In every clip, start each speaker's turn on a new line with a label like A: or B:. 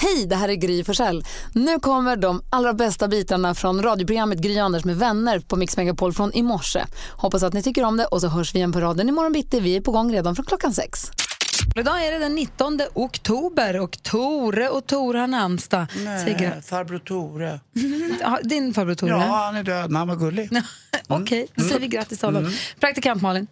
A: Hej, det här är Gry Forssell. Nu kommer de allra bästa bitarna från radioprogrammet Gry Anders med vänner på Mix Megapol från i morse. Hoppas att ni tycker om det och så hörs vi igen på raden imorgon bitti. Vi är på gång redan från klockan sex. Idag är det den 19 oktober och Tore och Tore har namnsdag. Säg gra-
B: Nej, farbror Tore.
A: Ja, Din farbror Tore?
B: Ja, han är död, men han var gullig.
A: Okej, då säger vi grattis till
B: Mm.
A: honom. Praktikant Malin,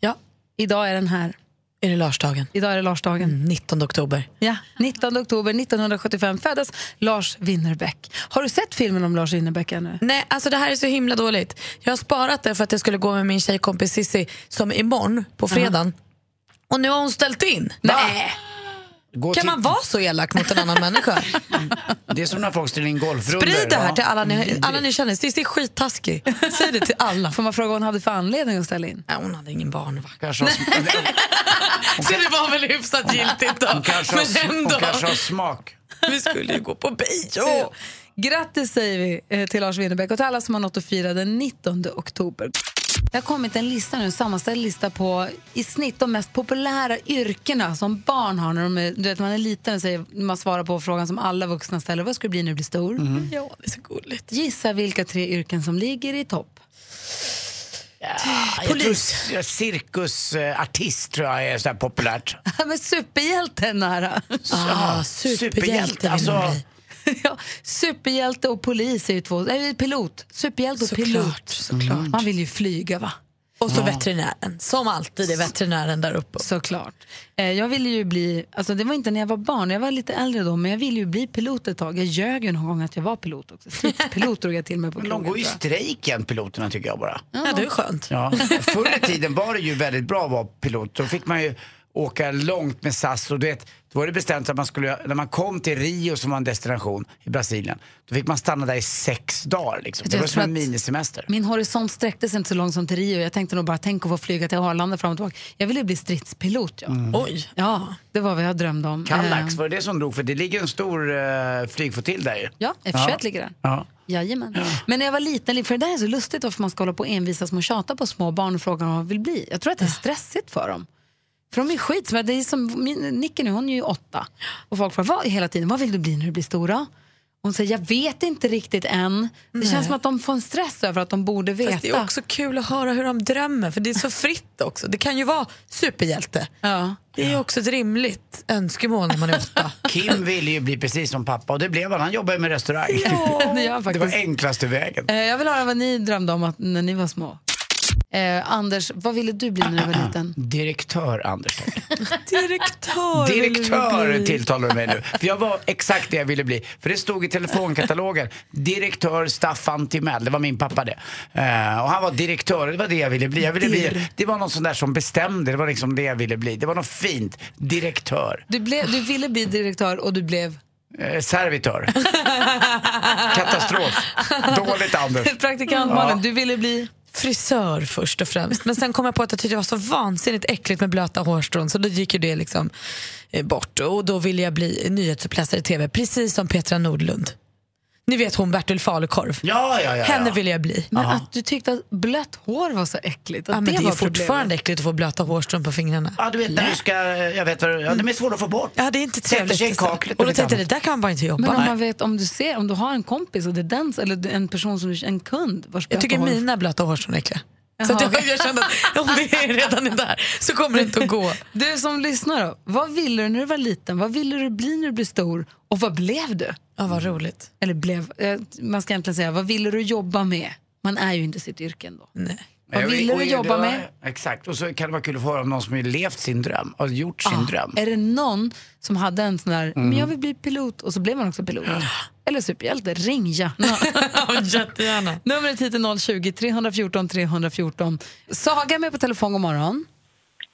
C: Ja,
A: idag är den här.
C: är det Larsdagen?
A: Idag är det Larsdagen.
B: Mm.
C: 19 oktober.
A: Ja, 19 oktober 1975 föddes Lars Winnerbäck. Har du sett filmen om Lars Winnerbäck ännu?
C: Nej, alltså det här är så himla dåligt. Jag har sparat det för att jag skulle gå med min tjejkompis Sissi som är imorgon på fredagen. Och nu har hon ställt in. Nej.
B: Gå
C: Kan
B: till-
C: man vara så elak mot en annan människa?
B: Det är som när folk ställer in golfrundor.
C: Sprid det här
B: va?
C: till alla ni, alla ni känner. Sissi är skittaskig. Säg det till alla.
A: Får man fråga vad hon hade för anledning att ställa in?
C: Nej, hon hade ingen barnvakt.
B: Kanske har,
C: Så det var väl hyfsat giltigt då.
B: hon kanske, har, hon kanske har smak.
C: Vi skulle ju gå på bio.
A: Eh, Grattis säger vi eh, till Lars Winnerbäck och till alla som har något att fira den 19 oktober. Det har kommit en lista nu, en sammanställd lista på i snitt de mest populära yrkena som barn har när de är, du vet man är liten och säger, man svarar på frågan som alla vuxna ställer, vad ska du bli när du blir stor?
C: Ja, det är så gulligt.
A: Gissa vilka tre yrken som ligger i topp.
B: Jag tror- ja, Cirkusartist tror jag är så här populärt.
A: Men superhjälte nära.
C: Ah, superhjälte vill
B: alltså,
C: man bli.
A: ja, superhjälte och polis är ju två, nej pilot, superhjälte och pilot.
C: Såklart, såklart.
A: Man vill ju flyga va?
C: Och så veterinären. Som alltid är veterinären där uppe.
A: Såklart. Eh, jag ville ju bli, alltså det var inte när jag var barn, jag var lite äldre då, men jag ville ju bli pilot ett tag. Jag ljög ju någon gång att jag var pilot också. Pilot drog jag till mig på
B: de
A: krogen.
B: går ju i
A: tror jag.
B: strejk igen, piloterna tycker jag bara.
C: Ja, det är skönt.
B: Ja. Förr i tiden var det ju väldigt bra att vara pilot. Då fick man ju åka långt med SAS och du vet, då var det bestämt att man skulle, när man kom till Rio som var en destination i Brasilien, då fick man stanna där i sex dagar liksom. Det
A: Jag
B: var som
A: tror
B: en
A: att-
B: minisemester.
A: Min horisont sträckte sig inte så långt som till Rio. Jag tänkte nog bara, tänk att få flyga till Arlanda fram och tillbaka. Jag ville bli stridspilot. Ja,
C: Oj.
A: ja det var vad jag drömde om.
B: Kallax,
A: Eh,
B: var det det som drog? För det ligger en stor uh, flygflottilj där ju.
A: Ja, F21 ligger där.
B: Ja.
A: Jajamän. Men när jag var liten, för det där är så lustigt varför man ska hålla på och envisas med att tjata på små barn och fråga vad de vill bli. Jag tror att det är stressigt för dem. För de är skit. men Det är som min, Nicky nu, hon är ju åtta. Och folk frågar vad, hela tiden, vad vill du bli när du blir stor då? Hon säger, jag vet inte riktigt än. Det känns som att de får en stress över att de borde veta.
C: Fast det är också kul att höra hur de drömmer, för det är så fritt också. Det kan ju vara superhjälte.
A: Ja.
C: Det är ju också ett rimligt önskemål när man är åtta.
B: Kim ville ju bli precis som pappa och det blev han. Han jobbar ju med restaurang.
A: Det gör han
B: det
A: faktiskt.
B: var enklaste vägen.
A: Eh, Jag vill höra vad ni drömde om att, när ni var små. Eh, Anders, vad ville du bli när du var liten?
B: Direktör Anders Tegnell.
C: Direktör! vill du
B: Direktör
C: bli.
B: tilltalar du mig nu. För jag var exakt det jag ville bli. För det stod i telefonkatalogen. Direktör Staffan Timell. Det var min pappa det. Eh, och han var direktör. Det var det jag ville bli. Jag ville bli. Det var någon sån där som bestämde. Det var liksom det jag ville bli. Det var något fint. Direktör.
A: Du, blev, du ville bli direktör och du blev?
B: Eh, servitör. Katastrof. Dåligt Anders.
A: Praktikant Malin, du ville bli?
C: Frisör först och främst. Men sen kom jag på att jag tyckte det var så vansinnigt äckligt med blöta hårstrån så då gick ju det liksom eh, bort. Och då ville jag bli nyhetsuppläsare i TV, precis som Petra Nordlund. Ni vet hon Bertil Falukorv.
B: Ja, ja, ja.
C: Henne
B: ja.
C: ville jag bli.
A: Men att du tyckte att blött hår var så äckligt. Att
C: Ja, men det, är
A: var
C: ju fortfarande äckligt att få blöta hårstrån på fingrarna.
B: Ja, du vet när du ska... eh, Jag vet vad du... Ja, de är svåra att få bort.
C: Ja, det är inte trevligt.
B: sig i kaklet
C: och
B: och lite
C: då tänkte jag,
B: annat.
C: det där kan man bara inte jobba
A: Men om man
C: med.
A: vet, om du ser, om du har en kompis och det är den, eller en person som du- en kund vars
C: Jag tycker
A: blöta hår-
C: mina blöta hårstrån är äckliga. Så att
A: Jaha.
C: jag, jag kände att om det är redan är där så kommer det inte att gå.
A: Du som lyssnar då, vad ville du när du var liten? Vad ville du bli när du blev stor? Och vad blev du?
C: Ja, vad roligt.
A: Eller blev, eh, man ska egentligen säga, vad ville du jobba med? Man är ju inte sitt yrke ändå.
C: Nej.
A: Vad
B: Jag
A: ville
B: Eh, och
A: du
B: det
A: jobba
B: var-
A: med?
B: Exakt. Och så kan det vara kul att få höra om någon som har levt sin dröm. Har gjort
A: Ah.
B: sin dröm. Mm.
A: Är det någon som hade en sån där, men jag vill bli pilot och så blev man också pilot. Eller superhjälte, ring gärna.
C: Ja, jättegärna.
A: Numret hit är 020 314 314. Saga är med på telefon, god morgon.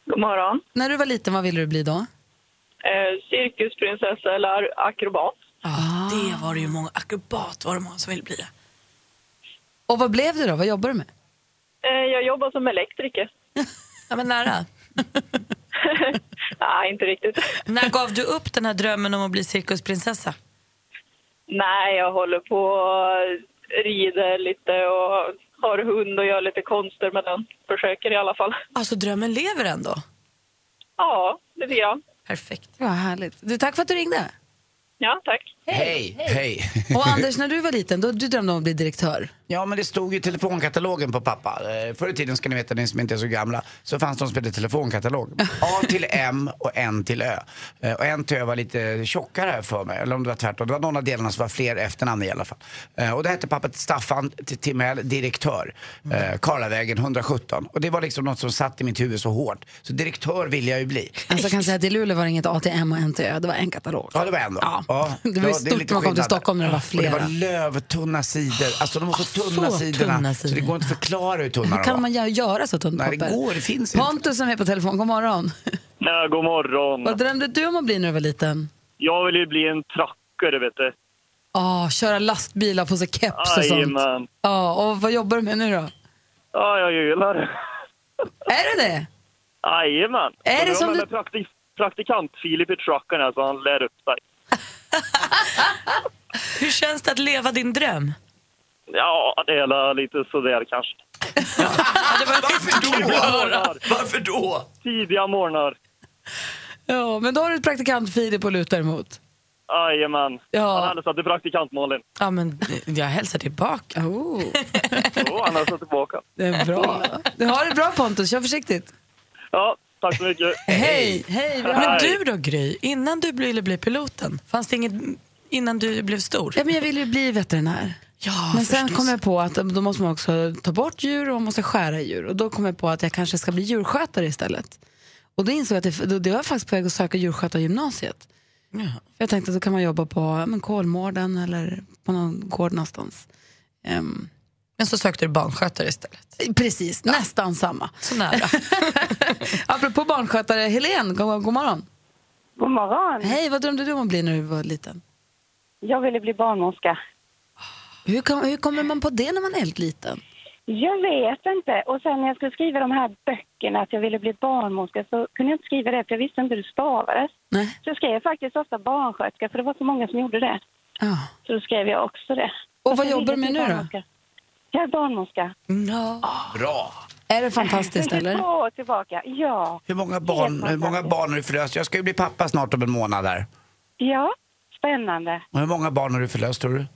D: God morgon.
A: När du var liten, vad ville du bli då?
D: Eh, cirkusprinsessa eller akrobat.
C: Det var det ju många, akrobat var det många som ville bli.
A: Och vad blev du då? Vad jobbar du med?
D: Eh, jag jobbar som elektriker.
C: Ja, men nära.
D: Nej, inte riktigt.
C: När gav du upp den här drömmen om att bli cirkusprinsessa?
D: Nej, jag håller på och rider lite och har hund och gör lite konster med den. Försöker i alla fall.
C: Alltså drömmen lever ändå.
D: Ja, lite grann.
C: Perfekt.
A: Vad härligt. Du, tack för att du ringde.
D: Ja, tack.
B: Hej! Hej!
A: Och Anders, när du var liten, då du drömde om att bli direktör.
B: Ja, men det stod ju i telefonkatalogen på pappa. Eh, Förr i tiden, ska ni veta, ni som inte är så gamla, så fanns de som hette telefonkatalog. A till M och N till Ö. Eh, Och N till Ö var lite tjockare här för mig, eller om det var tvärtom. Det var någon av delarna som var fler efternamn i alla fall. Eh, Och det hette pappa till Staffan till Timell, direktör. Eh, Karlavägen 117. Och det var liksom något som satt i mitt huvud så hårt. Så direktör ville jag ju bli.
A: Alltså, jag kan säga att i Luleå var det inget ATM och NTÖ, det var en katalog.
B: Ja, det var en då.
A: Ja. Det var ju
B: är
A: stort
B: lite
A: när man kom till
B: skillnad där.
A: Stockholm när det var
B: Och det
A: flera. Ah,
B: var lövtunna sidor. Alltså de var så tunna
C: så
B: sidorna,
C: tunna
B: så det
C: sidor.
B: går inte att förklara hur tunna de var.
A: Kan man gö- göra så tunt
B: Nej, det
A: papper?
B: går, det finns inte.
A: Pontus som är på telefon, god morgon.
E: Ja, god morgon.
A: Vad drömde du om att bli när du var liten?
E: Jag vill ju bli en trucker, vet du.
A: Ja, Ah, köra lastbilar på sig keps och sånt.
E: Jajamän.
A: Ja, och vad jobbar du med nu då?
E: Ja, jag gillar det.
A: Är det det?
E: Jajamän.
A: Är det
E: Jag
A: som
E: var
A: du-
E: med praktik- praktikant Filip i trucken här, så han lär upp sig.
C: Hur känns det att leva din dröm?
E: Ja, det är lite sådär kanske.
B: Varför
E: Morgnar,
B: Varför då?
E: tidiga morgnar.
A: Ja, men då har du ett praktikant Filip att luta emot.
E: Jajamän.
C: Ja.
E: Han hade satt i praktikant Malin.
C: Ja, men jag hälsar tillbaka.
A: Oh,
E: Jo, han hade satt tillbaka.
A: det är bra. Du har det bra Pontus, kör försiktigt.
E: Ja, tack så mycket.
A: Hej! Hej! vi har-
C: Men
E: Hej.
C: du då Gry, innan du ville bli piloten, fanns det inget innan du blev stor?
A: Ja, men jag ville ju bli veterinär.
C: Ja,
A: Men sen kom jag på att då måste man också ta bort djur och man måste skära djur. Och då kom jag på att jag kanske ska bli djurskötare istället. Och då insåg jag att det, då, det var jag faktiskt på väg att söka djurskötargymnasiet. Jag tänkte att då kan man jobba på ja, men, Kolmården eller på någon gård någonstans. Ehm,
C: Men så sökte du barnskötare istället.
A: precis, nästan samma.
C: Så nära.
A: Apropå barnskötare, Helene, god, god morgon.
F: God morgon.
A: Hej, vad drömde du om att bli när du var liten?
F: Jag ville bli barnmorska.
A: Hur, kom, hur kommer man på det när man är helt liten?
F: Jag vet inte. Och sen när jag skulle skriva de här böckerna att jag ville bli barnmorska så kunde jag inte skriva det för jag visste inte hur det stavades.
A: Nej.
F: Så jag skrev faktiskt ofta barnsköterska för det var så många som gjorde det.
A: Ja.
F: Så då skrev jag också det.
A: Och vad
F: sen
A: jobbar du
F: ville
A: med
F: jag
A: nu då?
F: bli barnmorska. Jag är barnmånska.
C: No.
B: Bra.
A: Är det fantastiskt
F: Sen
A: eller?
F: två år tillbaka. Ja.
B: Hur många barn, hur många barn har du förlöst? Jag ska ju bli pappa snart om en månad där.
F: Ja. Spännande.
B: Och hur många barn har du förlöst tror du?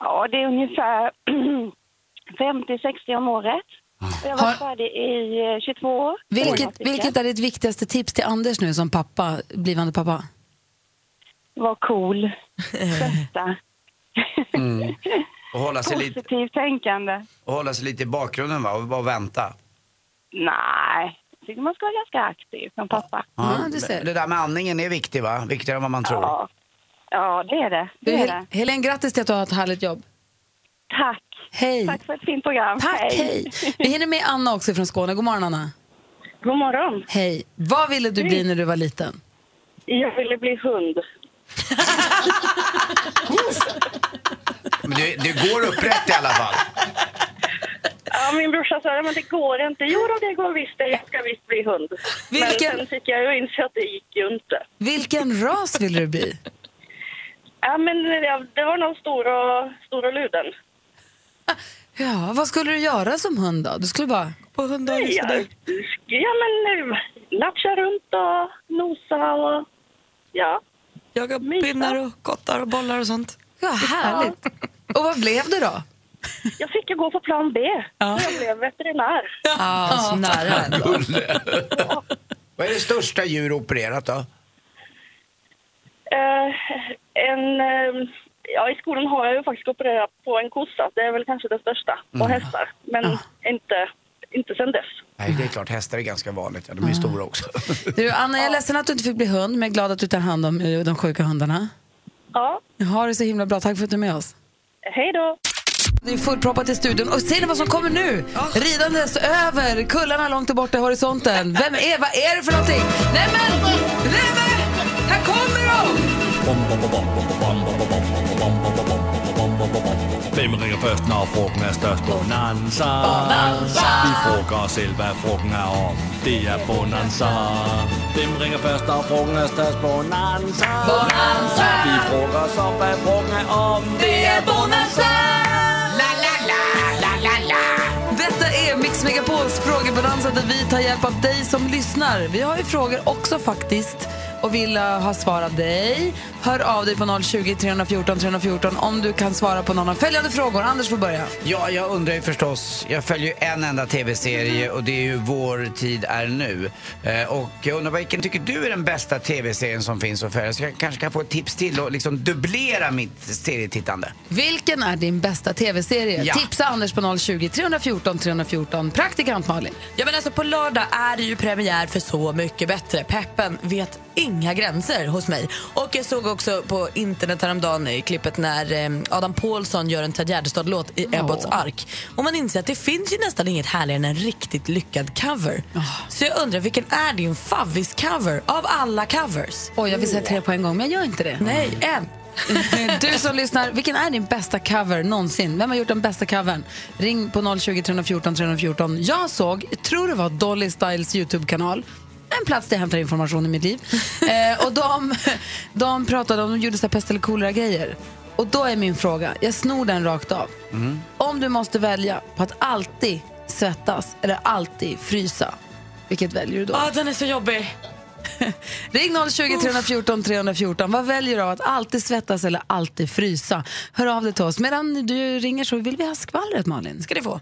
F: Ja, det är ungefär 50-60 om året. Och Jag var
A: Har-
F: färdig i eh, 22 år.
A: Vilket, vilket är ditt viktigaste tips till Anders nu som pappa, blivande pappa?
F: Var cool. Stötta.
B: Och hålla sig lite,
F: Positivt tänkande.
B: och hålla sig lite i bakgrunden va? Och bara vänta.
F: Nej, jag tycker man ska vara ganska aktiv som pappa.
A: Ja, du ser.
B: Men Det där med andningen är viktigt va? Viktigare än vad man tror.
F: Ja, ja det är det.
A: Du,
F: det, är det.
A: Hel- Helene, grattis till att du har ett härligt jobb.
F: Tack.
A: Hej!
F: Tack för ett fint program.
A: Tack, hej! Vi hinner med Anna också från Skåne. God morgon Anna.
F: God morgon.
A: Hej! Vad ville du bli när du var liten?
F: Jag ville bli hund.
B: Men du, du går upprätt i alla fall.
F: Ja, min brorsa sa men det går inte. Jo då, det går visst. det. Jag ska visst bli hund.
A: Vilken-
F: Men sen fick jag ju inse att det gick ju inte.
A: Vilken ras ville du bli?
F: Ja, men det, det var någon stor och, stor och luden.
A: Ja, vad skulle du göra som hund då? Du skulle bara...
C: På hunddagis
F: Ja,
C: sådär.
F: ja men eh, latcha runt och nosa och ja.
C: Jaga pinnar och kottar och bollar och sånt.
A: Ja, härligt! Och vad blev du då?
F: Jag fick ju gå på plan B. Jag blev veterinär.
C: Ja, så nära ändå.
B: Vad är det största djur opererat då?
F: Eh, en, eh, ja, I skolan har jag ju faktiskt opererat på en kossa. Det är väl kanske det största. Och hästar. Men inte, inte sen dess.
B: Nej, det är klart hästar är ganska vanligt. Ja, de är ju stora också.
A: Du, Anna, jag är ledsen att du inte fick bli hund, men jag är glad att du tar hand om eh, de sjuka hundarna.
F: Ja,
A: Ha det så himla bra. Tack för att du är med oss.
F: hej då!
A: Det är fullproppat i studion. Och ser ni vad som kommer nu? Ridandes över kullarna långt där borta i horisonten. Vem är, vad är det för någonting? Nej men! Nej men! Här kommer de!
G: Hvem ringer først, når frugten er størst? Bonanza. Bonanza. Vi frugter selv, hvad frugten er om. Det er Bonanza. Hvem ringer først, når frugten er størst? Bonanza. Bonanza. Vi frugter så, hvad frugten er om. Det er Bonanza.
A: Detta är Mix Megapols frågebonanza där vi tar hjälp av dig som lyssnar. Vi har ju frågor också faktiskt och vill eh, ha svar av dig. Hör av dig på 020 314 314 om du kan svara på någon av följande frågor. Anders får börja.
B: Ja, jag undrar ju förstås. Jag följer ju en enda tv-serie och det är ju Vår tid är nu. Eh, och jag undrar vilken tycker du är den bästa tv-serien som finns att följa? Så jag kanske kan få ett tips till och liksom dubblera mitt serietittande.
A: Vilken är din bästa tv-serie?
B: Ja.
A: Tipsa Anders på 020 314 314. Praktikant Malin.
C: Ja, men alltså på lördag är det ju premiär för Så mycket bättre. Peppen vet inga gränser hos mig. Och jag såg också på internet häromdagen i klippet när eh, Adam Pålsson gör en Ted Gärdestad-låt i Ebbots ark. Och man inser att det finns ju nästan inget härligare än en riktigt lyckad cover. Så jag undrar, vilken är din favvis-cover av alla covers?
A: Oj, jag vill säga tre på en gång, men jag gör inte det.
C: Nej, en.
A: Du som lyssnar, vilken är din bästa cover någonsin? Vem har gjort den bästa covern? Ring på 020 314 314. Jag såg, jag tror det var Dolly Styles Youtube-kanal, en plats där jag hämtar information i mitt liv. Eh, och de, de pratade om, de gjorde så här pest eller kolera-grejer. Och då är min fråga, jag snor den rakt av. Om du måste välja på att alltid svettas eller alltid frysa, vilket väljer du då?
C: Ja, den är så jobbig.
A: Ring 020 314 314. Vad väljer du av att alltid svettas eller alltid frysa? Hör av dig till oss. Medan du ringer så vill vi ha skvallret, Malin.
C: ska ni få.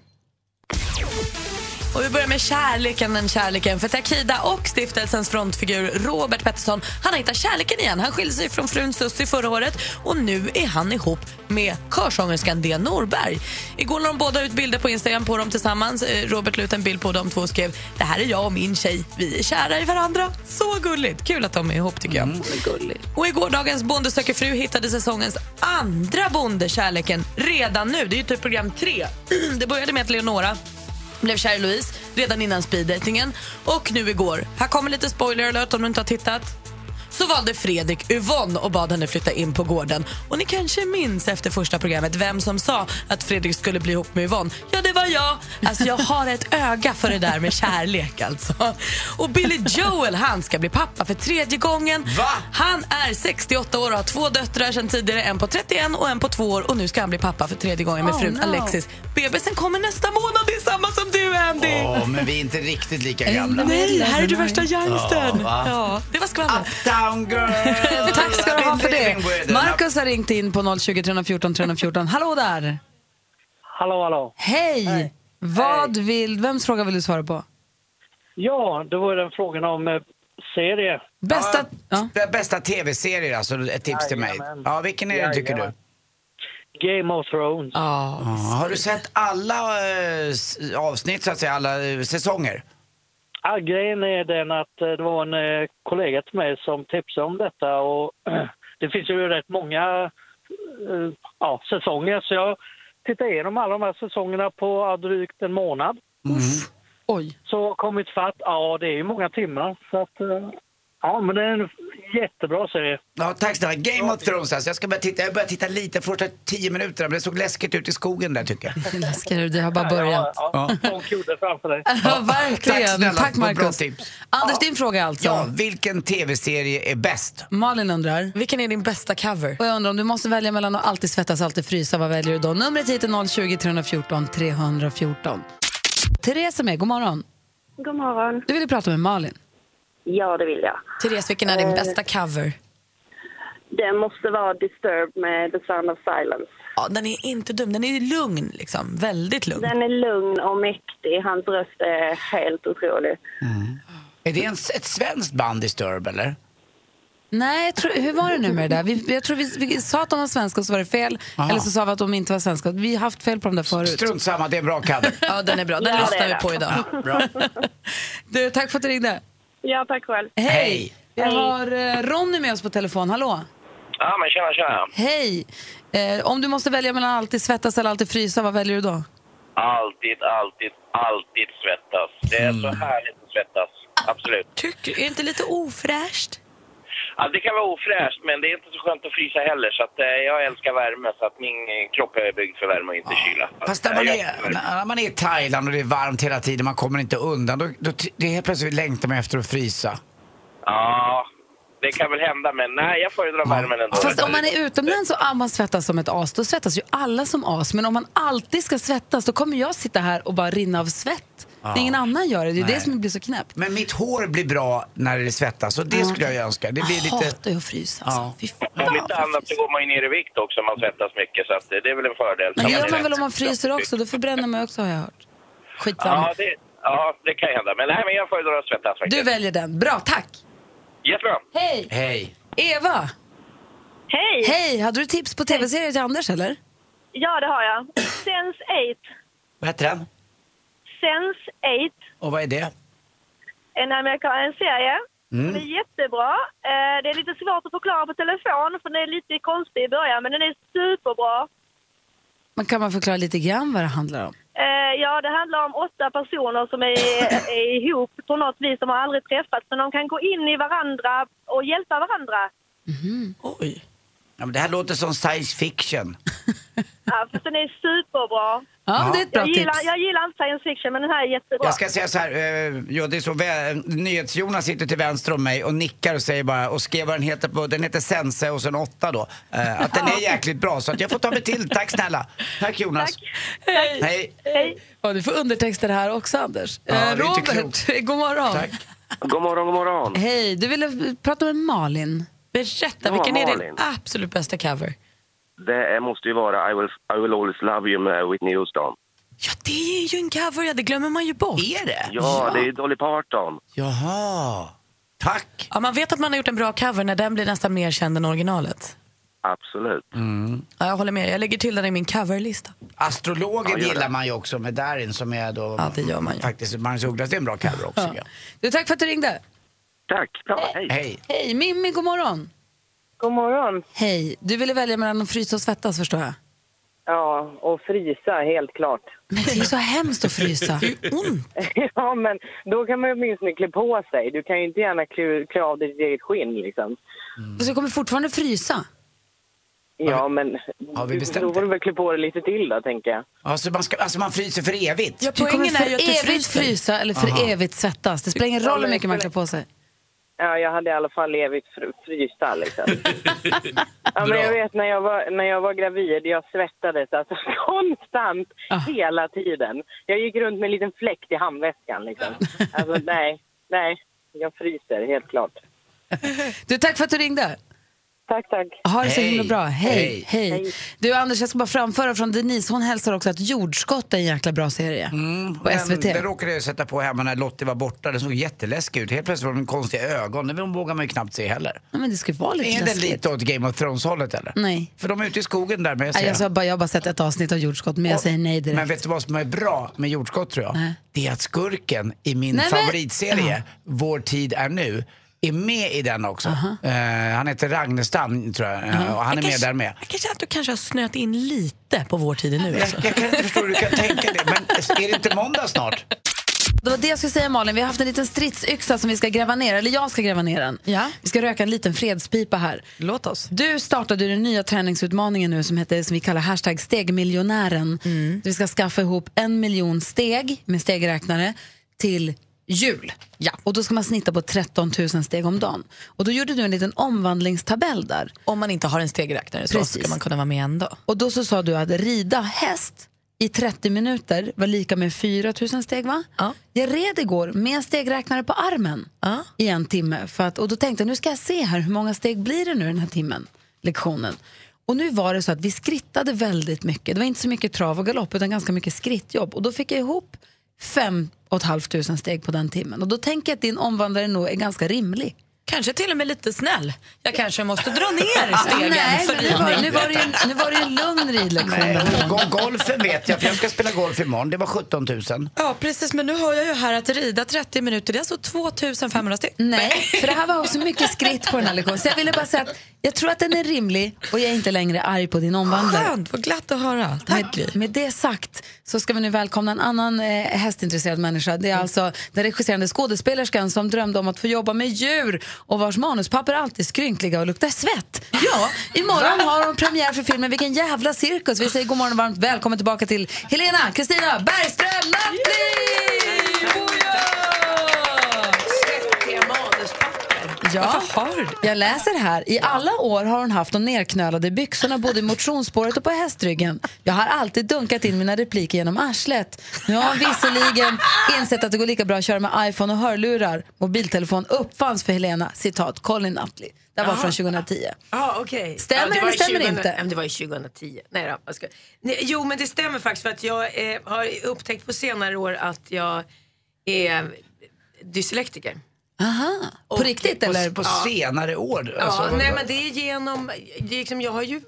C: Och vi börjar med kärleken, den kärleken. För Takida och stiftelsens frontfigur Robert Pettersson, han har hittat kärleken igen. Han skilde sig från frun Sussi förra året och nu är han ihop med körsångerskan Dea Norberg. Igår la de båda ut bilder på Instagram på dem tillsammans. Eh, Robert la ut en bild på dem två och skrev “Det här är jag och min tjej. Vi är kära i varandra.” Så gulligt! Kul att de är ihop tycker jag. Och i gårdagens Bonde söker fru hittade säsongens andra bonde kärleken redan nu. Det är ju typ program tre. Det började med att Leonora blev kär i Louise redan innan speeddatingen. Och nu igår, här kommer lite spoiler alert om du inte har tittat. Så valde Fredrik Yvonne och bad henne flytta in på gården. Och ni kanske minns efter första programmet vem som sa att Fredrik skulle bli ihop med Yvonne. Ja, det var jag. Alltså jag har ett öga för det där med kärlek alltså. Och Billy Joel, han ska bli pappa för tredje gången.
B: Va?
C: Han är 68 år och har två döttrar sedan tidigare. En på 31 och en på två år. Och nu ska han bli pappa för tredje gången med
A: Oh,
C: frun
A: no.
C: Alexis. Bebisen kommer nästa månad. Det är samma som du, Andy!
B: Åh, men vi är inte riktigt lika
A: Mm.
B: gamla.
C: Nej, här är du
A: Nej.
C: värsta youngstern.
B: Ja, va?
C: Ja, det var skvallret.
B: Uptown girl!
A: Ah. Tack ska du ha för
B: Living
A: det.
B: with an
A: Markus har ringt in på 020 314 314. Hallå där!
E: Hallå, hallå.
A: Hej! Vad vill, vems fråga vill du svara på?
E: Ja, då var den frågan om eh, serie.
A: Bästa... Ja.
B: Det är bästa tv-serier, alltså ett tips till mig.
E: Jajamän.
B: Ja, vilken är det tycker du?
E: Jajamän. Game of Thrones.
B: Ja,
C: Ah.
B: har du sett alla eh, s- avsnitt, så att säga, alla eh, säsonger?
E: Ja, grejen är den att eh, det var en eh, kollega till mig som tipsade om detta och det finns ju rätt många eh, ja, säsonger så jag tittade igenom alla de här säsongerna på ja, drygt en månad.
A: Oj.
E: Så kommit fatt, ja det är ju många timmar så att eh, ja men det är en jättebra serie.
B: Ja, tack snälla. Game of Thrones alltså. Jag ska börja titta, jag börjar titta lite, första tio minuterna, men det såg läskigt ut i skogen där tycker jag.
A: Läskar du, det har bara börjat.
E: Ja, ja, ja. Lång kudde framför dig.
A: Ja, verkligen.
B: Tack
A: Tack,
B: snälla,
A: Tack
B: vad bra
A: Markus.
B: tips.
A: Anders, din fråga är alltså.
B: Ja, vilken tv-serie är bäst?
A: Malin undrar.
C: Vilken är din bästa cover?
A: Och jag undrar om du måste välja mellan att alltid svettas alltid frysa, vad väljer du då? Numret hit är 020 314 314. Therese är med, god morgon.
F: God morgon.
A: Du ville prata med Malin.
F: Ja, det vill jag.
C: Therese, vilken är din bästa cover?
F: Det måste vara Disturbed med The Sound of Silence.
C: Ja, den är inte dum. Den är lugn, liksom. Väldigt lugn.
F: Den är lugn och mäktig. Hans röst är helt otrolig.
B: Är det en, ett svenskt band Disturb eller?
A: Nej, jag tror, hur var det nu med det där? Vi, jag tror vi, vi sa att de var svenska och så var det fel.
B: Aha.
A: Eller så sa vi att de inte var svenska. Vi har haft fel på dem där förut.
B: Strunt samma, det är en bra cover.
C: Ja, den är bra.
F: Ja,
C: Den
F: det
C: lyssnar
F: är
C: vi
F: den.
C: på idag.
B: Ja, bra.
A: Du, tack för att du ringde.
F: Ja, tack själv.
A: Hej!
B: Hej.
A: Vi har eh, Ronny med oss på telefon, hallå?
E: Ja men tjena tjena.
A: Hej! Eh, om du måste välja mellan alltid svettas eller alltid frysa, vad väljer du då?
E: Alltid, alltid, alltid svettas. Det är
A: Mm.
E: så härligt att svettas. Absolut.
C: Tycker, är det inte lite ofräscht?
E: Ja, det kan vara ofräscht, men det är inte så skönt att frysa heller. Så att, eh, jag älskar värme, så att min eh, kropp är byggd för värme och inte kyla.
B: Fast när
E: Eh,
B: man,
E: jag
B: är, när man är i Thailand och det är varmt hela tiden, man kommer inte undan, då, då t- det är helt plötsligt längtar man efter att frysa.
E: Ja, det kan väl hända, men nej, jag föredrar värmen ändå.
A: Fast om man är utomlands och ah, man svettas som ett as, då svettas ju alla som as. Men om man alltid ska svettas, då kommer jag sitta här och bara rinna av svett. När ingen annan gör det. Det är
B: Nej.
A: det som blir så knäppt.
B: Men mitt hår blir bra när det svettas och det skulle jag ju önska. Det blir
A: Jag
B: lite...
A: hatar ju att frysa. Alltså.
B: Ja.
A: Fy fan,
H: Om
A: vad
H: inte annat så
A: fryser.
H: går man ju ner i vikt också om man svettas mycket, så att eh, det är väl en fördel.
A: Men det gör man
H: är
A: väl om
H: rätt.
A: man fryser också? Då förbränner man ju också har jag hört. Skitsamma.
H: Ja, det, ja, det kan hända. Men, nej, men jag föredrar att svettas
A: Du
H: faktiskt.
A: väljer den. Bra, tack.
H: Jättebra.
A: Hej!
B: Hej.
A: Eva!
F: Hej!
A: Hej! Hade du tips på tv-serier till Anders eller?
F: Ja, det har jag. Sense 8.
B: Vad heter den?
F: Sense 8.
B: Och vad är det?
F: En amerikansk serie.
B: Mm.
F: Den är jättebra. Eh, Det är lite svårt att förklara på telefon för den är lite konstig i början men den är superbra.
A: Man kan man förklara lite grann vad det handlar om?
F: Eh, Ja, det handlar om åtta personer som är, är ihop på något vis. De har aldrig träffats men de kan gå in i varandra och hjälpa varandra.
C: Oj.
B: Ja, men det här låter som science fiction.
F: Ja, för den är superbra.
A: Ja, det är ett bra
F: Jag gillar,
A: tips.
F: jag gillar inte science fiction men den här är jättebra.
B: Jag ska säga så här, eh, ja, det är så vä- NyhetsJonas sitter till vänster om mig och nickar och säger bara, och skrev vad den heter på, den heter Sense och sen 8 då. Eh, att den är jäkligt bra så att jag får ta mig till. Tack snälla. Tack Jonas.
A: Hej!
B: Hej.
F: Hej.
A: Ja, du får undertexter här också, Anders.
B: Ja, det är
A: Eh,
B: inte
A: Robert,
B: klokt.
A: god morgon.
B: Tack.
H: God morgon, god morgon.
A: Hej, du ville prata med Malin.
C: Berätta,
H: Ja,
C: vilken är din
H: Malin.
C: absolut bästa cover?
H: Det måste ju vara I will, I will always love you med Whitney Houston.
C: Ja, det är ju en cover, ja, det glömmer man ju bort.
B: Är det?
H: Ja, det är Dolly Parton.
B: Jaha. Tack.
C: Ja, man vet att man har gjort en bra cover när den blir nästan mer känd än originalet.
H: Absolut.
C: Ja, jag håller med, jag lägger till den i min coverlista.
B: Astrologen
H: Ja, gör det.
B: gillar man ju också med Darin som är då
C: Ja, det gör man ju.
B: faktiskt Magnus Ugglas. Det är en bra cover också. Ja.
A: Du, tack för att du ringde.
H: Tack. Bra,
B: Hej.
A: Hej, Mimmi, god morgon.
I: God morgon.
A: Hej, du ville välja mellan att frysa och svettas förstår jag.
I: Ja, och frysa helt klart.
A: Men det är ju så hemskt att frysa.
C: Mm.
I: ja, men då kan man ju åtminstone klä på sig. Du kan ju inte gärna klä, klä av dig ditt eget skinn liksom.
A: Så Alltså, jag kommer fortfarande frysa.
I: Ja, men
B: har vi
I: du-
B: bestämt
I: då får
B: det?
I: du väl klä på dig lite till då, tänker jag.
B: Alltså, man ska, alltså man fryser för evigt.
C: Ja,
A: Du kommer
C: poängen är
A: för
C: ju att du
A: evigt
C: fryser.
A: frysa eller för evigt svettas. Det spelar ingen roll hur mycket man klär på sig.
I: Ja, jag hade i alla fall evigt fr- frysta liksom. ja,
B: Bra.
I: men jag vet när jag, var, när jag var gravid, jag svettades alltså konstant
A: Ah.
I: hela tiden. Jag gick runt med en liten fläkt i handväskan liksom. Alltså nej, nej, jag fryser helt klart.
A: Du, tack för att du ringde.
I: Tack, tack.
A: Ha det så
B: Hej.
A: himla bra. Hej,
B: Hej.
A: hej.
I: Hej.
A: Du Anders, jag ska bara framföra från Denise. Hon hälsar också att Jordskott är en jäkla bra serie.
B: Mm.
A: Mm, på
B: Den-
A: SVT.
B: Den råkade jag sätta på hemma när Lottie var borta. Den såg jätteläskig ut. Helt plötsligt var de konstiga ögon. Den vågar man ju knappt se heller.
A: Ja, men det ska ju vara lite
B: Är den
A: läskigt.
B: lite åt Game of Thrones-hållet eller?
A: Nej.
B: För de är ute i skogen där med
A: Nej, jag, sa bara, jag har bara sett ett avsnitt av Jordskott, men jag säger nej direkt.
B: Men vet du vad som är bra med jordskott tror jag?
A: Nej.
B: Det är att skurken i min
A: Nej, men-
B: favoritserie, Vår tid är nu, är med i den också. Eh, han heter Ragnestam tror jag eh, och han är
C: Jag
B: med
C: kanske-
B: där med.
C: Jag kanske att du kanske har snöat in lite på vår tid nu. Alltså.
B: Jag, jag kan inte förstå hur du kan tänka det, men är det inte måndag snart?
A: Det var det jag skulle säga Malin, vi har haft en liten stridsyxa som vi ska gräva ner, eller jag ska gräva ner den.
C: Ja.
A: Vi ska röka en liten fredspipa här.
C: Låt oss.
A: Du startade ju den nya träningsutmaningen nu som, heter, som vi kallar hashtag stegmiljonären. Vi ska skaffa ihop en miljon steg med stegräknare till jul. Ja. Och då ska man snitta på 13 000 steg om dagen. Och då gjorde du en liten omvandlingstabell där.
C: Om man inte har en stegräknare så
A: Precis.
C: ska man kunna vara med ändå.
A: Och då så sa du att rida häst i 30 minuter var lika med 4 000 steg va?
C: Ja.
A: Jag red igår med en stegräknare på armen
C: Ja.
A: i en timme. För att, och då tänkte jag nu ska jag se här hur många steg blir det nu den här timmen, lektionen. Och nu var det så att vi skrittade väldigt mycket. Det var inte så mycket trav och galopp utan ganska mycket skrittjobb. Och då fick jag ihop 5 500 steg på den timmen. Och då tänker jag att din omvandlare nog är ganska rimlig.
C: Kanske till och med lite snäll. Jag kanske måste dra ner stegen
A: Nej,
C: för
A: men nu var, nu, var det ju, nu var det ju en lugn ridlektion.
B: Nej,
A: den här gången.
B: go- golfen vet jag, för jag ska spela golf imorgon. Det var 17 000.
C: Ja, precis. Men nu hör jag ju här att rida 30 minuter, det är alltså 2500 steg.
A: Nej, för det här var så mycket skritt på den här lektionen. Så jag ville bara säga att jag tror att den är rimlig och jag är inte längre arg på din omvandlare.
C: Skönt, vad glatt att höra.
A: Med,
C: Tack Gry.
A: med det sagt så ska vi nu välkomna en annan eh, hästintresserad människa.
C: Mm.
A: Det är alltså den regisserande skådespelerskan som drömde om att få jobba med djur och vars manuspapper alltid är skrynkliga och luktar svett. Ja, imorgon har hon premiär för filmen Vilken jävla cirkus. Vi säger god morgon och varmt välkommen tillbaka till Helena Kristina Bergström Nattli!
C: Svettiga manuspapper.
A: Ja, jag läser här. I alla år har hon haft de nerknölade byxorna både i motionsspåret och på hästryggen. Jag har alltid dunkat in mina repliker genom arslet. Nu har hon visserligen insett att det går lika bra att köra med iPhone och hörlurar. Mobiltelefon uppfanns för Helena, citat, Colin Nutley. Det här var
J: Jaha.
A: från 2010.
J: Ja, okej.
A: Stämmer
J: ja, det var
A: eller
J: i
A: stämmer
J: 2000
A: inte?
J: Nej, men Det var ju 2010. Nej, då, jag ska... Nej, jo, men det stämmer faktiskt för att jag eh, har upptäckt på senare år att jag är dyslektiker.
A: Aha. På riktigt
B: på,
A: eller?
B: På
J: Ja.
B: senare år?
J: Ja,
B: alltså, vad-
J: nej, men det är genom, det är liksom, jag har ju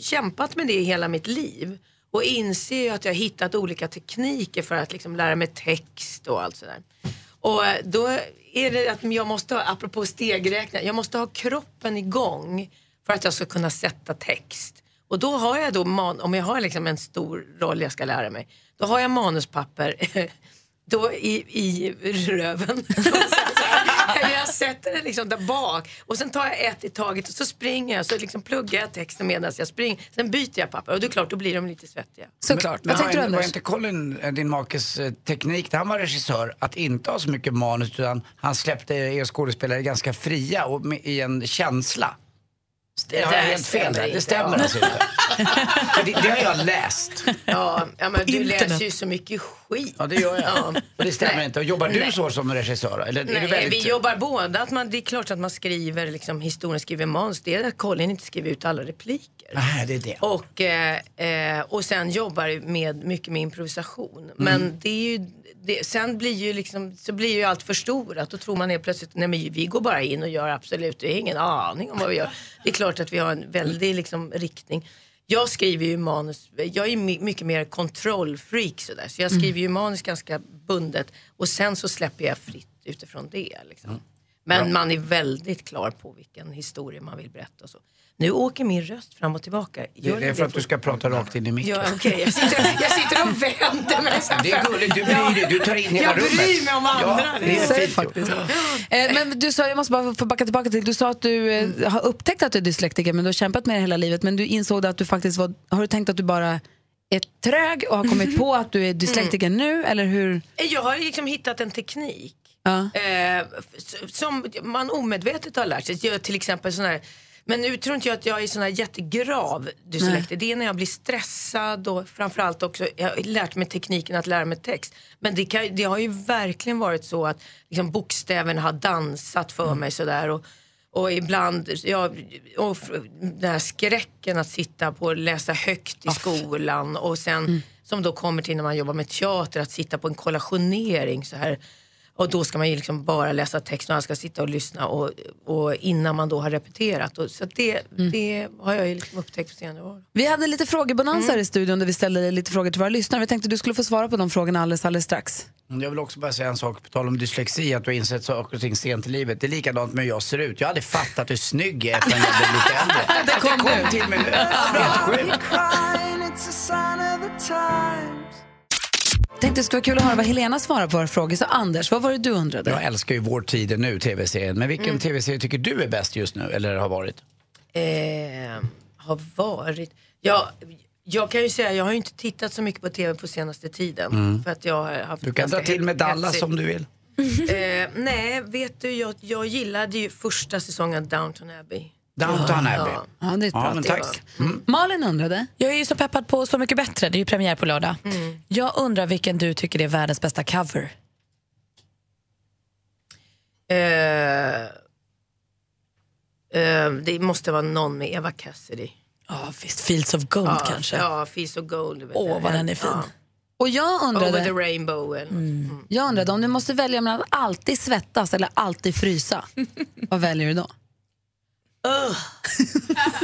J: kämpat med det i hela mitt liv och inser ju att jag har hittat olika tekniker för att liksom lära mig text och allt sådär. Och eh, då är det att jag måste, ha, apropå stegräkning, jag måste ha kroppen igång för att jag ska kunna sätta text. Och då har jag då, man, om jag har liksom en stor roll jag ska lära mig, då har jag manuspapper då i, i röven. Och sen så- Eller jag sätter den liksom där bak och sen tar jag ett i taget och så springer jag så liksom pluggar jag texten medan jag springer. Sen byter jag papper och det är klart, då blir de lite svettiga.
A: Såklart.
B: Men
A: Vad tänkte du
B: har- Var
A: Anders?
B: inte Colin, eh, din makes eh, teknik, när han var regissör, att inte ha så mycket manus utan han släppte er skådespelare ganska fria och med, i en känsla? Det har jag
J: där
B: helt fel
J: stämmer
B: där. Det
J: inte.
B: stämmer alltså inte. För det, det har jag läst.
J: Ja, ja men du
C: internet.
J: läser ju så mycket skit.
B: Ja, det gör jag.
J: Ja.
B: Och det stämmer
J: Nej.
B: inte. Och jobbar du
J: Nej.
B: så som regissör? Eller är
J: Nej,
B: du väldigt...
J: vi jobbar båda. Att man, det är klart att man skriver liksom, historien, skriver manus. Det är att Colin inte skriver ut alla repliker.
B: Nej, det är det.
J: Och, eh, eh, och sen jobbar med mycket med
B: Mm.
J: improvisation. Men det är ju, det, sen blir ju, liksom, så blir ju allt förstorat. Då tror man helt plötsligt, nej men vi går bara in och gör absolut, vi har ingen aning om vad vi gör. Det är klart att vi har en väldig liksom, riktning. Jag skriver ju manus, jag är my- mycket mer kontrollfreak sådär. Så jag skriver ju
B: Mm.
J: manus ganska bundet och sen så släpper jag fritt utifrån det. Liksom.
B: Mm.
J: Men man är väldigt klar på vilken historia man vill berätta och så. Nu åker min röst fram och tillbaka.
B: Det
J: Gör
B: det är för att du ska prata rakt in i micken.
J: Ja, okej. Jag, sitter, jag sitter och vänder mig. så här.
B: Det är gulligt, du bryr dig. Du tar in hela
J: Jag
B: rummet.
J: bryr mig om andra.
B: Ja,
J: Det
B: det
J: är
B: är
A: Så är det
B: fint gjort.
A: faktiskt. Eh, men du sa, jag måste bara få backa tillbaka till, du sa att du eh, har upptäckt att du är dyslektiker men du har kämpat med det hela livet men du insåg att du faktiskt var, har du tänkt att du bara är trög och har kommit på att du är dyslektiker nu eller hur?
J: Jag har liksom hittat en teknik
A: Ja.
J: eh, s- som man omedvetet har lärt sig. Jag, till exempel sån här, men nu tror inte jag att jag är sån här jättegrav dyslektiker. Det är när jag blir stressad och framförallt också, jag har lärt mig tekniken att lära mig text. Men det, kan, det har ju verkligen varit så att liksom, bokstäverna har dansat för mig sådär. Och, och ibland, ja, och fr- den här skräcken att sitta på och läsa högt i skolan och sen som då kommer till när man jobbar med teater, att sitta på en kollationering så här. Och då ska man ju liksom bara läsa texten och han ska sitta och lyssna och, och innan man då har repeterat. Och, så att det,
C: Mm.
J: det har jag ju liksom upptäckt på senare år.
A: Vi hade lite frågebonanza här i studion där vi ställde lite frågor till våra lyssnare. Vi tänkte du skulle få svara på de frågorna alldeles, alldeles strax.
B: Jag vill också bara säga en sak på tal om dyslexi, att du har insett saker och ting sent i livet. Det är likadant med hur jag ser ut. Jag hade fattat hur snygg jag är förrän jag blev lite äldre. Det kom, det kom till mig nu. Helt sjukt.
A: Tänkte det skulle vara kul att höra vad Helena svarar på våra frågor. Så Anders, vad var det du undrade?
B: Jag älskar ju Vår tid är nu, tv-serien. Men vilken
J: Mm.
B: tv-serie tycker du är bäst just nu, eller har varit?
J: eh, har varit... Jag, jag kan ju säga, jag har ju inte tittat så mycket på tv på senaste tiden. För att jag har haft
B: Mm. Du kan dra
J: ganska
B: till med Dallas
J: hetsig-
B: om du vill.
J: Eh, nej, vet du, jag, jag gillade ju första säsongen av Downton Abbey.
B: Downton Abbey.
J: Ja.
A: Ja, det är ett bra
B: Ja, men
A: tips.
B: tack. Mm.
A: Malin undrade.
C: Jag är ju så peppad på Så mycket bättre, det är ju premiär på lördag.
J: Mm.
C: Jag undrar vilken du tycker är världens bästa cover?
J: Eh, eh, det måste vara någon med Eva Cassidy.
C: Ja, visst. Fields of Gold
J: Ja,
C: kanske?
J: Ja, Feast of Gold. du vet
C: Åh,
J: det.
C: vad den är fin.
A: Och jag
J: Ja. Over the
A: undrade,
J: rainbow. Eller mm.
A: jag undrade om du måste välja mellan att alltid svettas eller alltid frysa. vad väljer du då?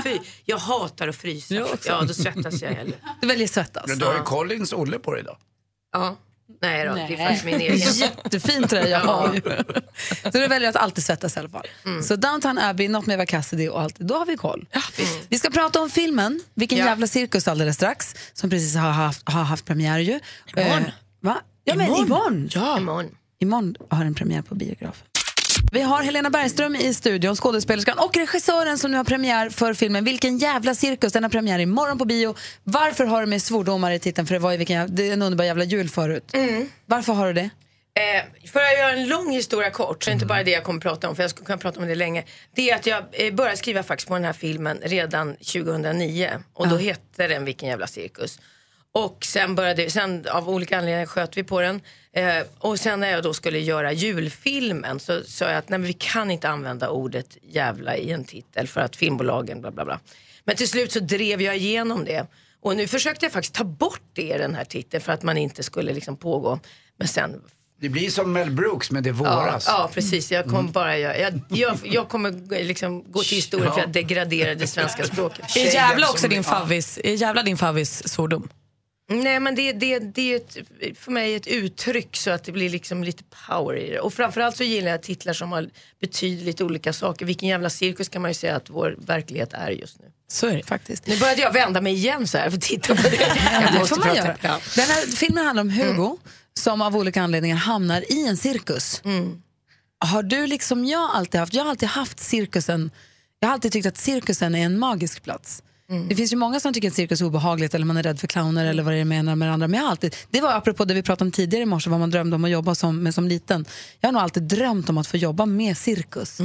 J: Fy, jag hatar att frysa. Ja, då svettas jag heller.
A: Du väljer svettas.
B: Men du har ju Collins Olle på dig idag.
J: Ja. Nej då, det är
A: Nej.
J: faktiskt min egen.
A: Jättefin tröja har ju. Så du väljer att alltid svettas i alla fall.
J: Mm.
A: Så Downton Abbey, något med Eva Cassidy och allt, då har vi koll. Vi ska prata om filmen, Vilken
J: Mm. Ja.
A: jävla cirkus alldeles strax, som precis har haft, har haft premiär ju. Imorgon. Eh, va? Ja, men imorgon. imorgon.
J: Ja. Imorgon.
A: Imorgon har den premiär på biograf. Vi har Helena Bergström i studion, skådespelerskan och regissören som nu har premiär för filmen Vilken jävla cirkus. Den har premiär imorgon på bio. Varför har du med svordomar i titeln? För det var ju vilken jävla, det är en underbar jävla jul förut. Varför har du det?
J: Eh, för att göra en lång historia kort, så är det inte bara det jag kommer prata om, för jag skulle kunna prata om det länge. Det är att jag eh, började skriva faktiskt på den här filmen redan 2009. Och då hette den Vilken jävla cirkus. Och sen började, sen av olika anledningar sköt vi på den. Eh, och sen när jag då skulle göra julfilmen så sa jag att nej men vi kan inte använda ordet jävla i en titel för att filmbolagen bla bla bla. Men till slut så drev jag igenom det. Och nu försökte jag faktiskt ta bort det i den här titeln för att man inte skulle liksom pågå. Men sen
B: Det blir som Mel Brooks, men det är våras.
J: Ja, ja precis. Jag kommer bara göra, jag, jag, jag kommer g- liksom gå till historien för att jag degraderade det svenska språket.
C: Är jävla också din favvis, är jävla din favvis svordom?
J: Nej men det, det, det är ju ett, för mig ett uttryck så att det blir liksom lite power i det. Och framförallt så Alltså gillar jag titlar som har betydligt olika saker. Vilken jävla cirkus kan man ju säga att vår verklighet är just nu.
C: Så är det faktiskt.
J: Nu började jag vända mig igen så här för att titta på det. Jag
A: det
J: måste
A: får man
J: prata.
A: göra.
J: Ja.
A: Den här filmen handlar om Hugo
C: Mm.
A: som av olika anledningar hamnar i en cirkus. Har du liksom jag alltid haft, jag har alltid haft cirkusen, jag har alltid tyckt att cirkusen är en magisk plats. Det finns ju många som tycker att cirkus är obehagligt eller man är rädd för clowner eller vad det är menar med det andra. Men jag har alltid, det var apropå det vi pratade om tidigare i morse, vad man drömde om att jobba som, med som liten. Jag har nog alltid drömt om att få jobba med cirkus.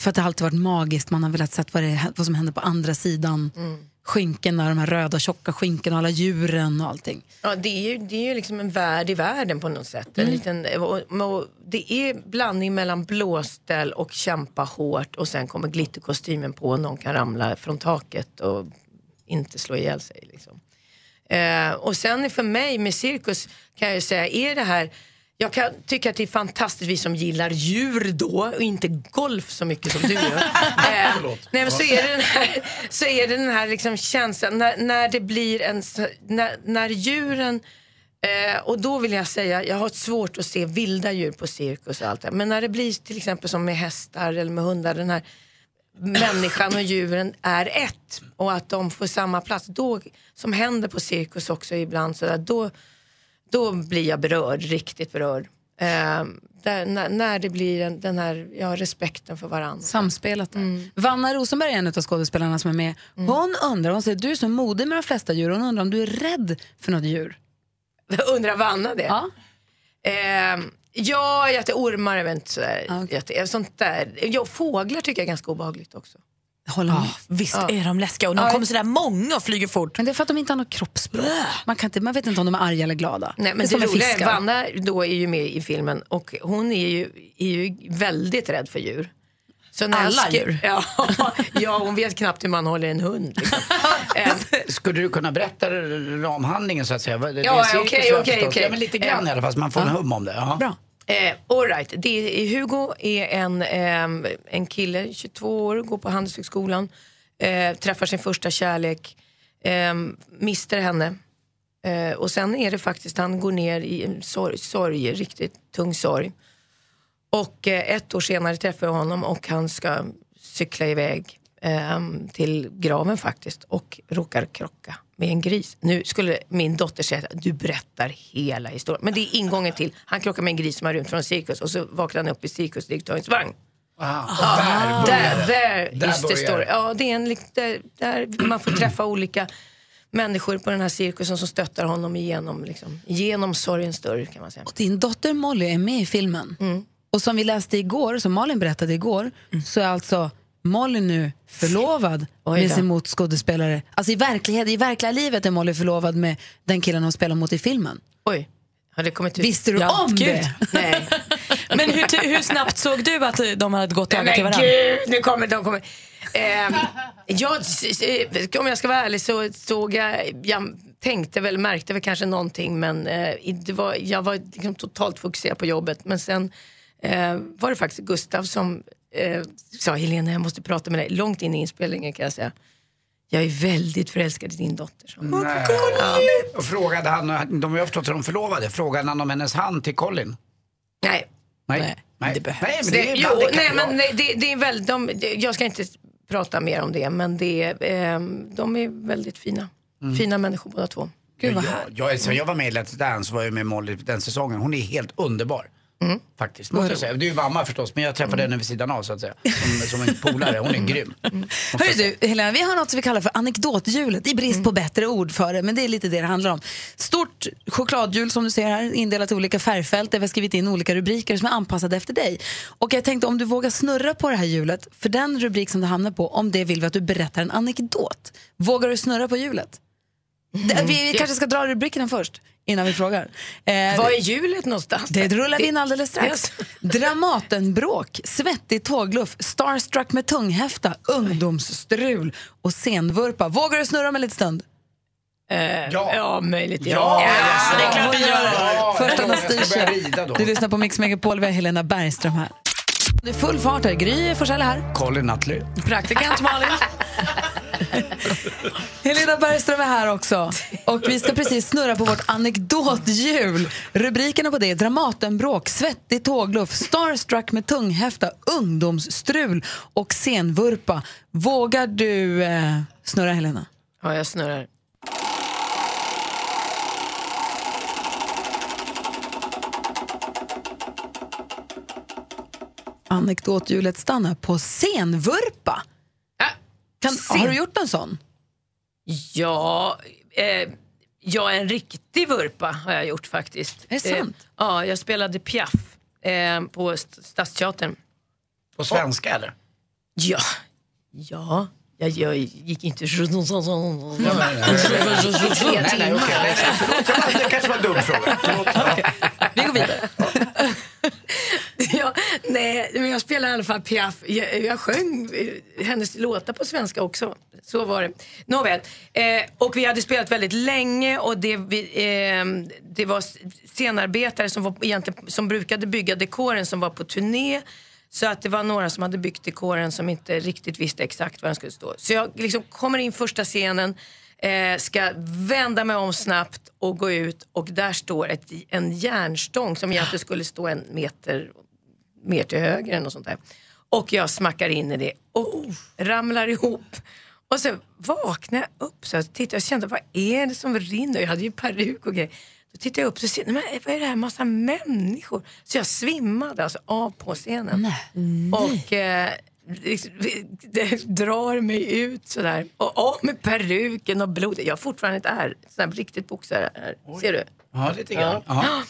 A: För att det har alltid varit magiskt, man har velat se vad, det, vad som händer på andra sidan. Skinkorna, de här röda tjocka skinkorna, alla djuren och allting.
J: Ja, det är ju, det är ju liksom en värld i världen på något sätt. En
A: Mm.
J: liten, och, och, det är blandning mellan blåställ och kämpa hårt och sen kommer glitterkostymen på och någon kan ramla från taket och inte slå ihjäl sig. Liksom. Eh, och sen är för mig med cirkus kan jag ju säga, är det här jag kan tycka att det är fantastiskt vi som gillar djur då och inte golf så mycket som du gör. Eh, nej, men så är det den här, så är det den här liksom känslan när, när det blir en... s- När, när djuren... Eh, och då vill jag säga, jag har svårt att se vilda djur på cirkus och allt det här. Men när det blir till exempel som med hästar eller med hundar, den här människan och djuren är ett och att de får samma plats. Då, som händer på cirkus också ibland, så där, då, då blir jag berörd, riktigt berörd. Eh, där, när, när det blir en, den här ja, respekten för varandra.
A: Samspelat där.
J: Mm.
A: Vanna Rosenberg är en av skådespelarna som är med. Hon undrar, hon säger du är så modig med de flesta djur, hon undrar om du är rädd för något djur.
J: Undrar Vanna det? Ja. Ehm, ja, jätteormar är väl inte sådär
A: Ah,
J: jätte, sånt där. Ja, fåglar tycker jag är ganska obehagligt också.
A: Håller med.
J: Ah.
C: Visst
J: Ja.
C: är de läskiga och de
J: Ja.
C: kommer sådär många och flyger fort.
A: Men det är för att de inte har något kroppsspråk. Man, kan inte, man vet inte om de är arga eller glada.
J: Nej, men
A: det är som
J: det
A: med
J: roliga är
A: fiskar.
J: Vanna då är ju med i filmen och hon är ju, är ju väldigt rädd för djur. Så när jag
C: Alla
J: skri-
C: djur?
J: Ja, ja, hon vet knappt hur man håller en hund. Liksom.
B: Skulle du kunna berätta ramhandlingen så att säga? Det- det är
J: Ja,
B: cirkus,
J: okej,
B: jag
J: okej,
B: förstår.
J: okej.
B: Ja, men lite grann
J: Eh,
B: i alla fall, så man får en hum om det. Ja.
A: Bra.
J: Eh, all right. det är, Hugo är en, ehm, en kille, 22 år, går på Handelshögskolan, eh, träffar sin första kärlek, eh, mister henne. Eh, och sen är det faktiskt, han går ner i en sorg, sorg riktigt tung sorg. Och eh, ett år senare träffar jag honom och han ska cykla iväg ehm, till graven faktiskt och råkar krocka med en gris. Nu skulle min dotter säga att du berättar hela historien. Men det är ingången till, han krockar med en gris som har rymt från cirkus och så vaknar han upp i cirkusdirektörens vagn.
B: Där börjar det.
J: Där, där,
B: Där
J: is the
B: börjar
J: story.
B: det.
J: Ja, det är en, lik- där, där man får träffa olika människor på den här cirkusen som stöttar honom igenom, liksom, genom sorgens dörr kan man säga.
A: Din dotter Molly är med i filmen.
C: Mm.
A: Och som vi läste igår, som Malin berättade igår, så är alltså Molly nu förlovad
J: Oj
A: med
J: då.
A: sin motskådespelare. Alltså i, verklighet, i verkliga livet är Molly förlovad med den killen hon spelar mot i filmen.
J: Oj, har det kommit ut?
A: Visste du
C: Ja,
A: om
C: gud.
A: det?
J: Nej.
C: Men hur, t- hur snabbt såg du att de hade gått över till
J: Men
C: varandra?
J: gud, nu kommer de. Kommer. Ehm, jag, eh, om jag ska vara ärlig så såg jag, jag tänkte väl, märkte väl kanske någonting men eh, det var, jag var liksom totalt fokuserad på jobbet. Men sen eh, var det faktiskt Gustav som eh, sa, Helena jag måste prata med dig, långt in i inspelningen kan jag säga. Jag är väldigt förälskad i din dotter. sa hon.
B: Nej. Och frågade han, de har jag förstått att de förlovade, frågade han om hennes hand till Colin?
J: Nej,
B: Nej.
C: Nej, det behövs.
B: Nej, men det
J: Det,
B: är
J: jo,
B: ibland det kan
J: nej,
B: vara.
J: men nej, det, det är väldigt, de, det- jag ska inte prata mer om det, men det, är, ehm, de är väldigt fina. Fina människor båda två.
A: Gud vad
B: alltså, jag,
A: härligt.
B: jag, sen jag var med i Let's Dance var jag med Molly den säsongen. Hon är helt underbar. Faktiskt, måste jag säga. Du är ju mamma förstås, men jag träffade henne vid sidan av så att säga. Som, som en polare, hon är grym.
A: Hörru du, Helena, vi har något som vi kallar för anekdothjulet, i brist på bättre ord för det, men det är lite det det handlar om. Stort chokladhjul som du ser här, indelat i olika färgfält där vi har skrivit in olika rubriker som är anpassade efter dig. Och jag tänkte om du vågar snurra på det här hjulet, för den rubrik som du hamnar på, om det vill vi att du berättar en anekdot. Vågar du snurra på hjulet? Det-
J: Mm.
A: Vi
J: Det-
A: kanske ska dra rubrikerna först, innan vi frågar. Eh,
J: Var är hjulet någonstans?
A: Det rullar vi in alldeles
J: Yes.
A: strax. Dramatenbråk, svettig tågluff, starstruck med tunghäfta, ungdomsstrul och senvurpa. Vågar du snurra om en liten stund?
J: ja. ja, möjligt.
A: Ja,
J: ja det är klart
A: hon
J: det gör.
A: det. Först Anna
J: Jag ska börja
A: Sticher. Du lyssnar på Mix Megapol, vi har Helena Bergström här. Det är full fart här. Gry Forssell är här.
B: Colin Nutley.
A: Praktikant Malin. Helena Bergström är här också. Och vi ska precis snurra på vårt anekdothjul. Rubrikerna på det är Dramatenbråk, svettig tågluff, starstruck med tunghäfta, ungdomsstrul och senvurpa. Vågar du eh, snurra, Helena?
J: Ja, jag snurrar.
A: Anekdothjulet stannar på senvurpa.
C: Äh,
A: Kan,
J: sen-
A: Har du gjort en sån?
J: Ja, eh, ja, en riktig vurpa har jag gjort faktiskt.
A: Är det sant?
J: Eh, ja, jag spelade Piaf eh, på St- Stadsteatern.
B: På svenska eller?
J: Ja, ja. Jag, jag gick inte... Jag tror det var tre
B: Nej, nej, okej. Nej, nej, förlåt. Det var- Det kanske var en dum fråga.
J: ja, nej, men jag spelade i alla fall Piaf. Jag, jag sjöng eh, hennes låtar på svenska också. Så var det. Nåväl. Eh, och vi hade spelat väldigt länge och det, vi, eh, det var s- scenarbetare som, var, egentligen, som brukade bygga dekoren som var på turné. Så att det var några som hade byggt dekoren som inte riktigt visste exakt var den skulle stå. Så jag liksom kommer in första scenen, eh, ska vända mig om snabbt och gå ut och där står ett, en järnstång som egentligen skulle stå en meter mer till höger eller något sånt där. Och jag smackar in i det och oh, ramlar ihop. Och sen vaknar jag upp så jag tittar och kände vad är det som rinner? Jag hade ju peruk och grejer. Då tittar jag upp och ser, nej, men vad är det här, massa människor? Så jag svimmade alltså av på scenen. Och eh, liksom, det drar mig ut sådär. Och av med peruken och blodet. Jag har fortfarande ett ärr, ett sånt där riktigt boxare här. Ser du?
B: Ja, lite grann. Ja.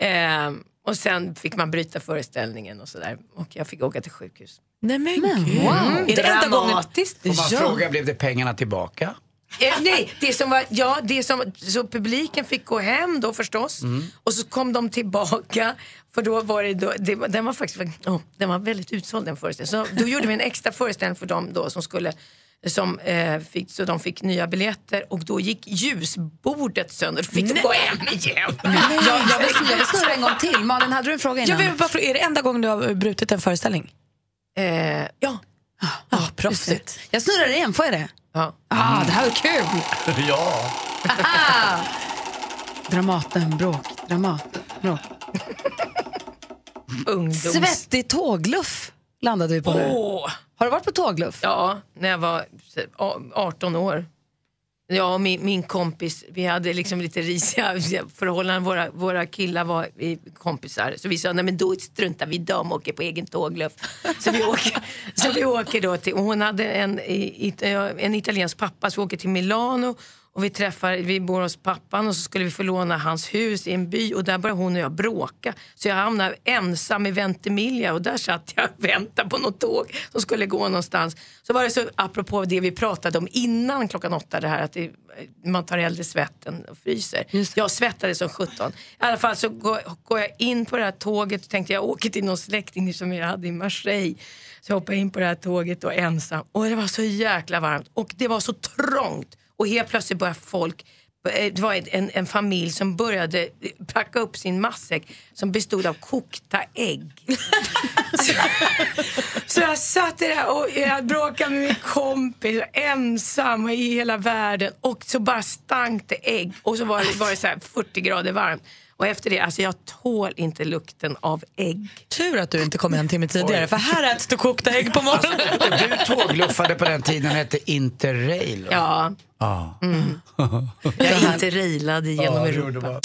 J: Ehm, och sen fick man bryta föreställningen och sådär. Och jag fick åka till sjukhus.
C: Nej men,
J: gud. Är det enda gången-
C: Dramatiskt.
B: Om man frågar, blev det pengarna tillbaka?
J: Eh, nej, det som var, ja, det som, så publiken fick gå hem då förstås. Och så kom de tillbaka. För då var det, då, det var- den var faktiskt oh, den var väldigt utsåld den föreställningen. Så då gjorde vi en extra föreställning för dem då som skulle som, eh, fick, så de fick nya biljetter och då gick ljusbordet sönder. Då fick de gå hem igen.
A: Jag, jag, vill, jag vill snurra en gång till. Malin, hade du en fråga
C: Jag
A: innan?
C: vill bara fråga, är det enda gången du har brutit en föreställning?
J: Eh, ja.
C: Ja, proffsigt.
A: Jag snurrar igen, får jag det?
J: Ja.
A: Ah, det här var kul!
B: Ja.
A: Dramaten, bråk, Dramaten, bråk.
J: Ungdoms...
A: Svettig tågluff landade vi på nu.
J: Åh.
A: Har du varit på tågluff?
J: Ja, när jag var a- 18 år. Jag och min, min kompis, vi hade liksom lite risiga förhållanden. Våra, våra killar var i- kompisar. Så vi sa, nej men då struntar vi i dem och åker på egen tågluff. Så vi åker, så vi åker då till, och hon hade en, i- it- en italiensk pappa så vi åker till Milano. Och vi, träffar, vi bor hos pappan och så skulle vi få låna hans hus i en by och där började hon och jag bråka. Så jag hamnade ensam i Ventimiglia och där satt jag och väntade på något tåg som skulle gå någonstans. Så var det så, apropå det vi pratade om innan klockan åtta, det här att det, man tar hellre svett än och fryser. Jag svettades som sjutton. I alla fall så går, går jag in på det här tåget och tänkte jag åker till någon släkting som jag hade i Marseille. Så jag hoppade in på det här tåget och ensam. Och det var så jäkla varmt och det var så trångt. Och helt plötsligt började folk eh, det var en, en familj som började packa upp sin matsäck som bestod av kokta ägg. Så jag satt där och jag bråkade med min kompis, ensam i hela världen. Och så bara stank det ägg. Och så var det, var det så här 40 grader varmt. Och efter det, alltså jag tål inte lukten av ägg.
C: Tur att du inte kom en timme tidigare, för här äts du kokta ägg på morgonen.
B: Du tågluffade på den tiden hette Interrail.
J: Ja,
B: Ja.
J: jag inte railade genom
B: Ja, det
J: Europa.
B: gjorde man.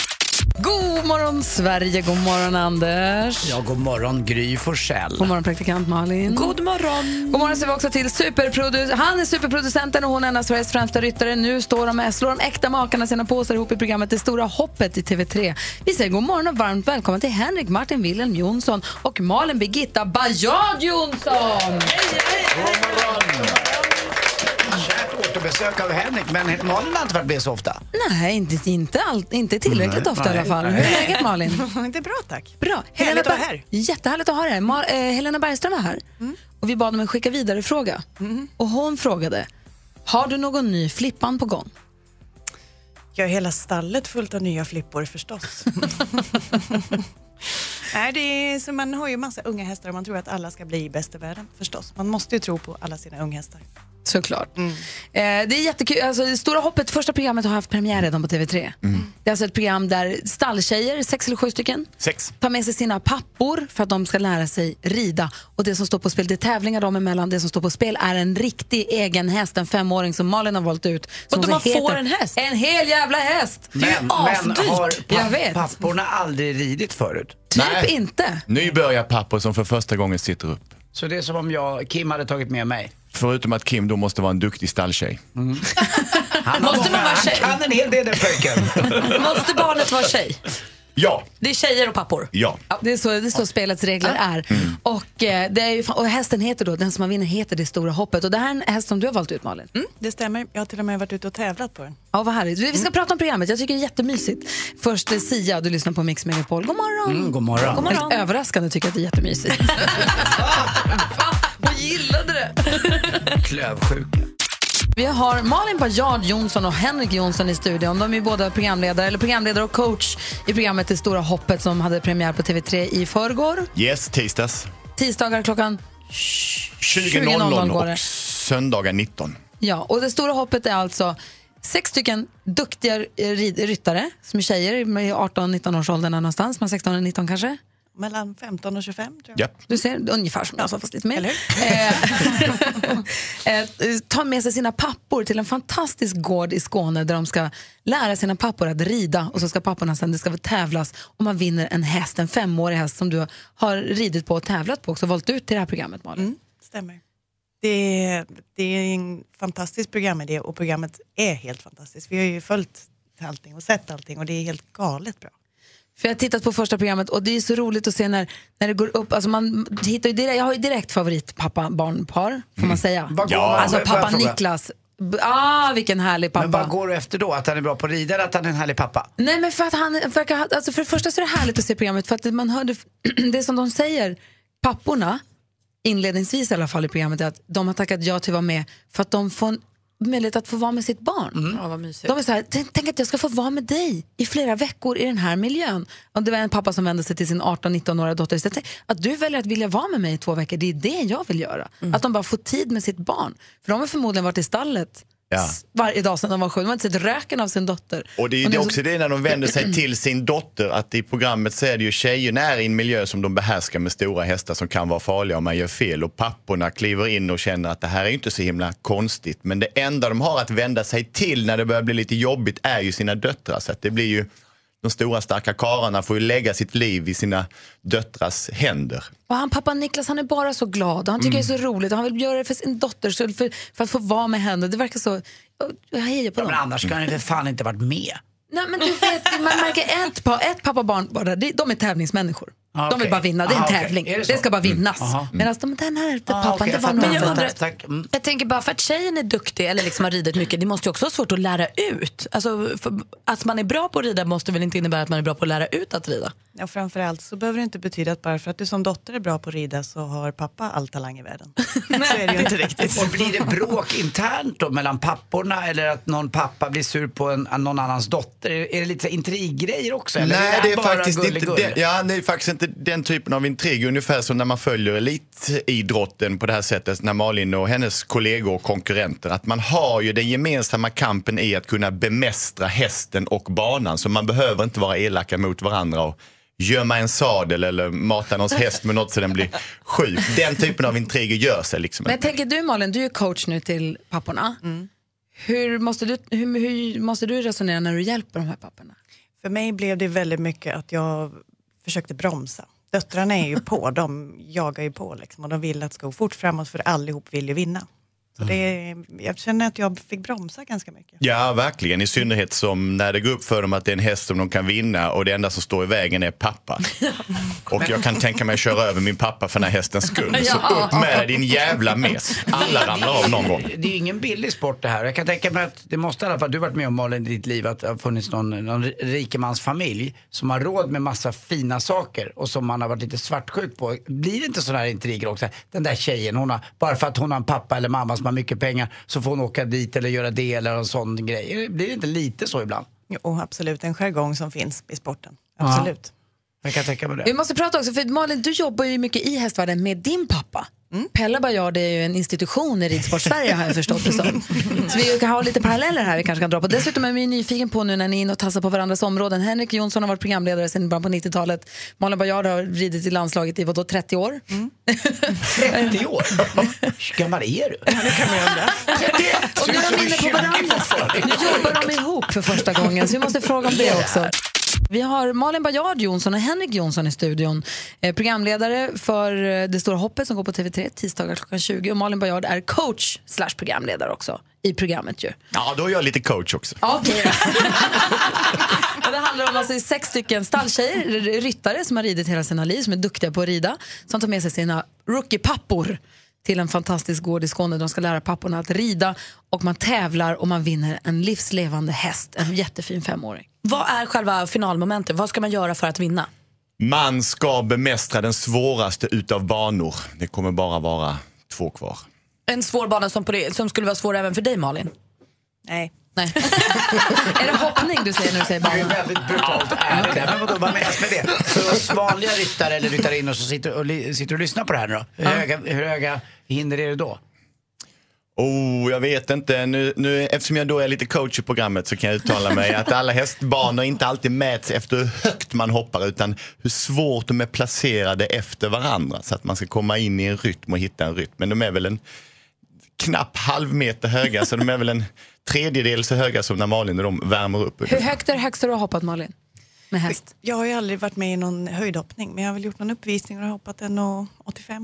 A: God morgon Sverige, god morgon Anders.
B: Ja, god morgon Gry Forssell.
A: God morgon praktikant Malin.
C: God morgon.
A: God morgon säger vi också till superprodu- Han är superproducenten och hon är en av Sveriges främsta ryttare. Nu står de, slår de äkta makarna sina påsar ihop i programmet Det stora hoppet i TV3. Vi säger god morgon och varmt välkommen till Henrik Martin Wilhelm Jonsson och Malin Birgitta Bajard Jonsson.
B: Kärt återbesök av Henrik, men Malin har inte varit med så ofta.
A: Nej, inte, inte, all, inte tillräckligt
B: Nej,
A: ofta
B: nej,
A: i alla fall. Hur är
B: nej.
A: läget Malin?
K: det är bra tack.
A: Bra.
K: Härligt att vara
A: Berg-
K: här. Mm.
A: Jättehärligt att ha dig här. Mar- eh, Helena Bergström var här och vi bad om en skicka vidare-fråga. Och hon frågade, har du någon ny Flippan på gång?
K: Jag har hela stallet fullt av nya flippor förstås. Nej, det är, så man har ju massa unga hästar och man tror att alla ska bli bäst i världen förstås. Man måste ju tro på alla sina unghästar.
A: Såklart.
C: Mm.
A: Eh, det är jättekul. Alltså, det Stora hoppet, första programmet har haft premiär redan på TV3.
B: Mm.
A: Det är alltså ett program där stalltjejer, sex eller sju stycken,
B: Sex.
A: tar med sig sina pappor för att de ska lära sig rida. Och det som står på spel, det är tävlingar dem emellan. Det som står på spel är en riktig egen häst, en femåring som Malin har valt ut. Som
C: Och de
A: så
C: man får
A: heter-
C: en häst?
A: En hel jävla häst!
B: Men, men har
A: Jag
B: papp-
A: vet.
B: papporna aldrig ridit förut?
A: Typ inte.
L: Nybörjarpappor som för första gången sitter upp.
B: Så det är som om jag, Kim hade tagit med mig. Mm.
L: Förutom att Kim då måste vara en duktig stalltjej.
B: Han, har
C: Måste man vara tjej?
B: han kan en hel del den pojken.
C: Måste barnet vara tjej?
L: Ja.
C: Det är tjejer och pappor.
L: Ja.
A: Det är så, det är så spelets regler är. Och, eh, det är ju, fan- och hästen heter då, den som man vinner heter Det stora hoppet. Och det här är en häst som du har valt ut Malin.
K: Det stämmer, jag har till och med varit ute och tävlat på den.
A: Ja, vad härligt. Vi ska prata om programmet. Jag tycker det är jättemysigt. Först eh, Sia, du lyssnar på Mix Megapol. God morgon!
B: Mm, god morgon.
A: God morgon. Överraskande tycker jag att det är jättemysigt.
C: Hon gillade det.
B: Klövsjuka.
A: Vi har Malin Bajard Jonsson och Henrik Jonsson i studion. De är ju båda programledare, eller programledare och coach i programmet Det stora hoppet som hade premiär på TV3 i förrgår.
L: Yes, tisdags.
A: Tisdagar klockan
L: 20.00
A: går det.
L: och söndagar 19.
A: Ja, och det stora hoppet är alltså sex stycken duktiga eh, rid- ryttare som är tjejer i 18-19 års åldern någonstans, men 16 och 19 kanske.
K: Mellan 15 och 25 tror jag.
L: Japp.
A: Du ser, ungefär som jag sa fast lite mer.
K: Eller
A: Eh, eh, tar med sig sina pappor till en fantastisk gård i Skåne där de ska lära sina pappor att rida och så ska papporna sen, det ska tävlas och man vinner en häst, en femårig häst som du har ridit på och tävlat på också, valt ut till det här programmet Malin.
K: Stämmer. Det är, det är en fantastisk programidé och programmet är helt fantastiskt. Vi har ju följt allting och sett allting och det är helt galet bra.
A: För jag har tittat på första programmet och det är så roligt att se när, när det går upp. Alltså man hittar ju direkt, jag har ju direkt favorit pappa barnpar får man säga.
B: Mm. Vad går-
A: Alltså
B: vad- vad
A: pappa
B: frågar jag?
A: Niklas. B- Ah, vilken härlig pappa.
B: Men vad går du efter då? Att han är bra på att rida eller att han är en härlig pappa?
A: Nej, men för att han verkar ha, alltså för det första så är det härligt att se programmet för att man hörde, det som de säger, papporna, inledningsvis i alla fall i programmet, är att de har tackat ja till att vara med för att de får en möjlighet att få vara med sitt barn.
B: Mm.
C: Ja, vad mysigt.
A: Typ. De är så här, tänk, tänk att jag ska få vara med dig i flera veckor i den här miljön. Och det var en pappa som vände sig till sin 18-19-åriga dotter och sa, "Tänk att du väljer att vilja vara med mig i två veckor, det är det jag vill göra.
L: Mm.
A: Att de bara får tid med sitt barn. För de har förmodligen varit i stallet
L: Ja.
A: varje dag sedan de var sju. De har inte sett röken av sin dotter.
L: Och det är ju
A: nu
L: det
A: så-
L: också det när de vänder sig till sin dotter att i programmet så är det ju tjejerna är i en miljö som de behärskar med stora hästar som kan vara farliga om man gör fel och papporna kliver in och känner att det här är ju inte så himla konstigt men det enda de har att vända sig till när det börjar bli lite jobbigt är ju sina döttrar så att det blir ju de stora starka karlarna får ju lägga sitt liv i sina döttrars händer.
A: Och han, pappa Niklas han är bara så glad och han tycker
L: Mm.
A: det är så roligt och han vill göra det för sin dotter skull, för, för att få vara med henne. Det verkar så... jag- Jag hejar på
B: Ja, men
A: dem.
B: annars skulle han ju för fan inte varit med.
A: Nej, men du vet, man märker ett, pa, ett pappa och barn, bara, de de är tävlingsmänniskor.
B: Ah,
A: De vill
B: okej.
A: bara vinna, det är en
B: Ah, okej.
A: tävling.
B: Är det
A: Det,
B: så?
A: ska bara vinnas.
B: Mm. Aha.
A: Medan de, den här pappan,
B: okej,
A: det
B: jag
A: var
B: fattar,
A: men jag
B: jag
A: undrar,
B: fattar. Tack. Mm.
C: Jag tänker bara för att tjejen är duktig eller liksom har ridit mycket, det måste ju också vara svårt att lära ut. Alltså, för, att man är bra på att rida måste väl inte innebära att man är bra på att lära ut att rida?
K: Ja, framförallt så behöver det inte betyda att bara för att du som dotter är bra på att rida så har pappa all talang i världen. så är det ju inte riktigt.
B: Och blir det bråk internt då mellan papporna eller att någon pappa blir sur på en, någon annans dotter? Är är det lite så här intriggrejer också? Eller
L: Nej,
B: är
L: det är,
B: bara
L: faktiskt inte
B: gulligull?
L: den, ja, det är faktiskt inte den typen av intrig. Ungefär som när man följer elitidrotten på det här sättet, när Malin och hennes kollegor och konkurrenter. Att man har ju den gemensamma kampen i att kunna bemästra hästen och banan. Så man behöver inte vara elaka mot varandra och gömma en sadel eller mata någons häst med något så den blir sjuk. Den typen av intriger gör sig liksom
A: men jag tänker du Malin, du är coach nu till
C: Mm.
A: papporna. Hur, måste du, hur, hur måste du resonera när du hjälper de här papporna?
K: För mig blev det väldigt mycket att jag försökte bromsa. Döttrarna är ju på, de jagar ju på liksom, och de vill att det ska gå fort framåt för allihop vill ju vinna. Så det, jag känner att jag fick bromsa ganska mycket.
L: Ja, verkligen. I synnerhet som när det går upp för dem att det är en häst som de kan vinna och det enda som står i vägen är pappa. Och jag kan tänka mig att köra över min pappa för den här hästens skull. Så
B: Ja.
L: upp med din jävla mes. Alla ramlar av någon gång.
B: Det är ju ingen billig sport det här. Jag kan tänka mig att det måste i alla fall, du har varit med om Malin i ditt liv, att det har funnits någon, någon rikemansfamilj som har råd med massa fina saker och som man har varit lite svartsjuk på. Blir det inte sådana här intriger också? Den där tjejen, hon har, bara för att hon har en pappa eller mamma som har mycket pengar så får hon åka dit eller göra det eller en sån grej. Blir det inte lite så ibland?
K: Jo, absolut, en jargong som finns i sporten.
B: Ja.
K: Absolut.
B: Jag kan tänka mig det.
A: Vi måste prata också, för Malin, du jobbar ju mycket i hästvärlden med din pappa. Pelle Bajard är ju en institution i Ridsport-Sverige har jag förstått det som. Så vi kan ha lite paralleller här vi kanske kan dra på. Dessutom är vi nyfiken på nu när ni är inne och tassar på varandras områden. Henrik Jonsson har varit programledare sedan början på 90-talet. Malin Bajard har ridit i landslaget i vadå, 30 år?
B: 30 år? Hur gammal är du?
A: Och nu är de inne på varandra. Nu jobbar de ihop för första gången, så vi måste fråga om det också. Vi har Malin Bajard Jonsson och Henrik Jonsson i studion. Eh, programledare för eh, Det stora hoppet som går på TV3 tisdagar klockan 20. Och Malin Bajard är coach slash programledare också i programmet ju.
L: Ja, då är jag lite coach också.
A: Okej då. Det handlar om alltså sex stycken stalltjejer, r- ryttare som har ridit hela sina liv, som är duktiga på att rida, som tar med sig sina rookie-pappor till en fantastisk gård i Skåne. De ska lära papporna att rida och man tävlar och man vinner en livslevande häst, en jättefin femåring.
C: Vad är själva finalmomentet? Vad ska man göra för att vinna?
L: Man ska bemästra den svåraste utav banor. Det kommer bara vara två kvar.
C: En svår bana som, på det, som skulle vara svår även för dig, Malin?
K: Nej.
A: Nej. är det hoppning du säger när du säger
B: Det är
A: bana?
B: väldigt brutalt ärligt där. Men vadå, vad menas med det? För oss vanliga ryttare eller ryttarinnor som sitter och, li- sitter och lyssnar på det här nu då? Hur, höga, hur höga hinder är det då?
L: Oh, jag vet inte. Nu, nu, eftersom jag då är lite coach i programmet så kan jag uttala mig att alla hästbanor inte alltid mäts efter hur högt man hoppar utan hur svårt de är placerade efter varandra så att man ska komma in i en rytm och hitta en rytm. Men de är väl en knapp halv meter höga så de är väl en tredjedel så höga som när Malin och de värmer upp.
A: Hur högt är det högsta du har hoppat Malin? Med häst?
K: Jag har ju aldrig varit med i någon höjdhoppning, men jag har väl gjort någon uppvisning och har hoppat 1,85,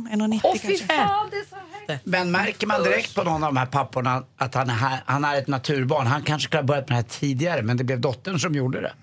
K: 1,90 kanske.
B: Men märker man direkt på någon av de här papporna att han är, här- han är ett naturbarn? Han kanske skulle ha börjat med det här tidigare men det blev dottern som gjorde det.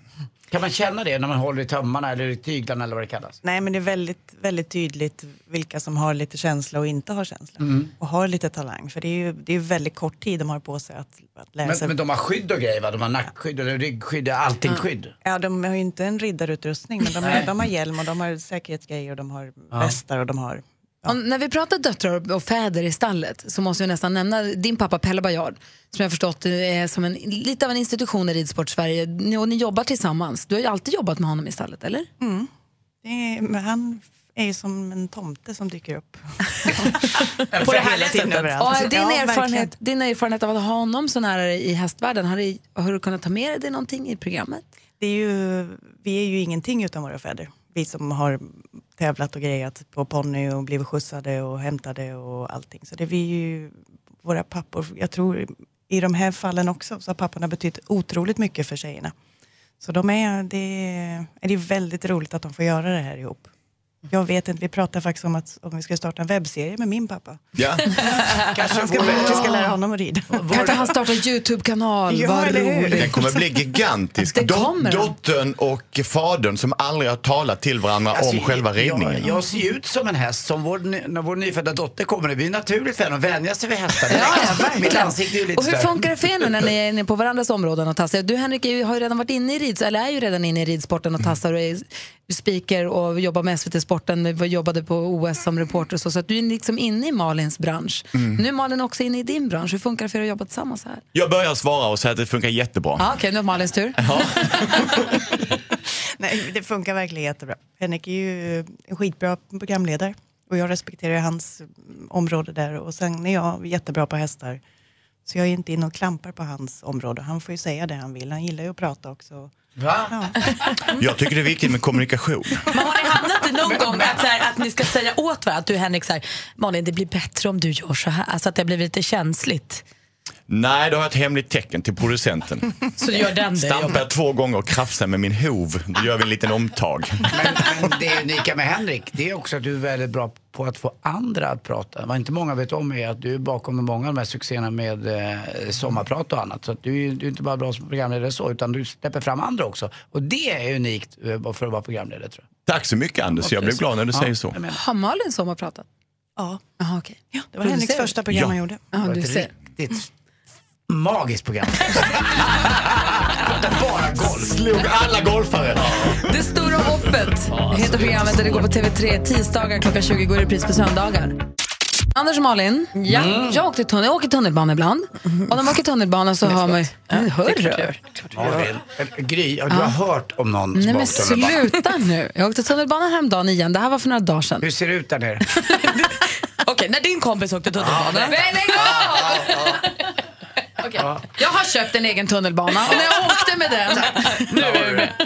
B: Kan man känna det när man håller i tömmarna eller i tyglarna eller vad det kallas?
K: Nej, men det är väldigt, väldigt tydligt vilka som har lite känsla och inte har känsla.
B: Mm.
K: Och har lite talang, för det är ju det är väldigt kort tid de har på sig att, att lära
B: Men,
K: sig.
B: men de har skydd och grejer va? De har nackskydd och ryggskydd, allting skydd.
K: Ja, de har ju inte en riddarutrustning, men de har,
B: Nej.
K: de har hjälm och de har säkerhetsgrejer och de har
B: Ja.
K: västar och de har...
A: Om, när vi pratar döttrar och fäder i stallet så måste vi nästan nämna din pappa Pelle Bajard som jag har förstått är som en, lite av en institution i Ridsport Sverige. Ni, och ni jobbar tillsammans. Du har ju alltid jobbat med honom i stallet, eller?
K: Mm. Det är, men han är ju som en tomte som dyker upp.
A: På det
K: här Hela tiden sättet. överallt.
A: Och din,
K: Ja, verkligen.
A: erfarenhet, din erfarenhet av att ha honom så nära i hästvärlden, har, du- har du kunnat ta med dig någonting i programmet?
K: Det är ju, vi är ju ingenting utan våra fäder. Vi som har tävlat och grejat på ponny och blivit skjutsade och hämtade och allting. Så det är vi ju, våra pappor, jag tror i de här fallen också så har papporna betytt otroligt mycket för tjejerna. Så de är, det, är, det är väldigt roligt att de får göra det här ihop. Jag vet inte, vi pratar faktiskt om att om vi ska starta en webbserie med min pappa.
L: Ja.
K: Kanske han ska, vi ska lära honom att rida.
A: Kan inte han starta en YouTube-kanal?
K: Ja,
A: Vad
K: eller hur?
A: roligt.
L: Den kommer bli gigantisk.
A: Det
L: Dot-
A: kommer den.
L: Dottern och fadern som aldrig har talat till varandra
B: Alltså,
L: om själva
B: jag-
L: ridningen.
B: Jag, jag ser ju ut som en häst. Som vår, ny- när vår nyfödda dotter kommer, det blir naturligt för henne att vänja sig vid hästar. Mitt ansikte är ju lite
A: Och hur
B: större.
A: funkar det för er nu när ni är inne på varandras områden och tassar? Du Henrik är ju- har ju redan varit inne i rids, eller är ju redan inne i ridsporten och tassar och är speaker och jobbar med SVT-sporten, Vi jobbade på OS som reporter och så, så att du är liksom inne i Malins bransch.
L: Mm.
A: Nu är Malin också inne i din bransch, hur funkar det för er att jobba tillsammans här?
L: Jag börjar svara och säga att det funkar jättebra.
A: Ja, Okej, nu är Malins tur.
K: Nej, det funkar verkligen jättebra. Henrik är ju en skitbra programledare och jag respekterar ju hans mm, område där och sen är jag jättebra på hästar. Så jag är inte inne och klampar på hans område. Han får ju säga det han vill. Han gillar ju att prata också.
B: Va?
L: Jag tycker det är viktigt med kommunikation.
C: Hamnat i någon gång att, så här, att ni ska säga åt varandra, att du Henrik, så här, Malin det blir bättre om du gör så här, alltså att det blir lite känsligt.
L: Nej, då har jag ett hemligt tecken till producenten.
C: Så gör den det
L: Stampar jag två gånger och krafsar med min hov, då gör vi en liten omtag.
B: Men det unika med Henrik, det är också att du är väldigt bra på att få andra att prata. Vad inte många vet om är att du är bakom de många av de här succéerna med eh, sommarprat och annat. Så att du, är- du är inte bara bra som programledare så, utan du släpper fram andra också. Och det är unikt eh, för att vara programledare tror jag.
L: Tack så mycket Anders, jag blev glad när du
B: Ja,
L: säger så.
B: jag menar.
A: Har Malin sommarpratat?
K: Ja.
A: Aha, okay. ja
K: Det var Henriks första program
B: Ja.
K: han gjorde.
A: Ja,
B: Det var
A: du
B: ett
A: ser.
B: riktigt magiskt program. bara golf.
L: Slog alla golfare.
A: Det stora hoppet heter programmet och alltså, det går på TV3 tisdagar klockan 20 går i repris på söndagar. Anders och Malin, ja. Mm. jag, åkte tunnel, jag åker tunnelbana ibland. Och när man åker tunnelbana så har man ju... Men Hör du?
B: Malin, eller Gry, ja, du har hört om någon
A: Nej
B: som
A: men
B: åkt tunnelbana.
A: sluta nu. Jag åkte tunnelbana häromdagen igen. Det här var för några dagar sedan.
B: Hur ser det ut där nere?
C: Okej, när din kompis åkte tunnelbana.
A: Men lägg av! Okej. Jag har köpt en egen tunnelbana och när jag åkte med den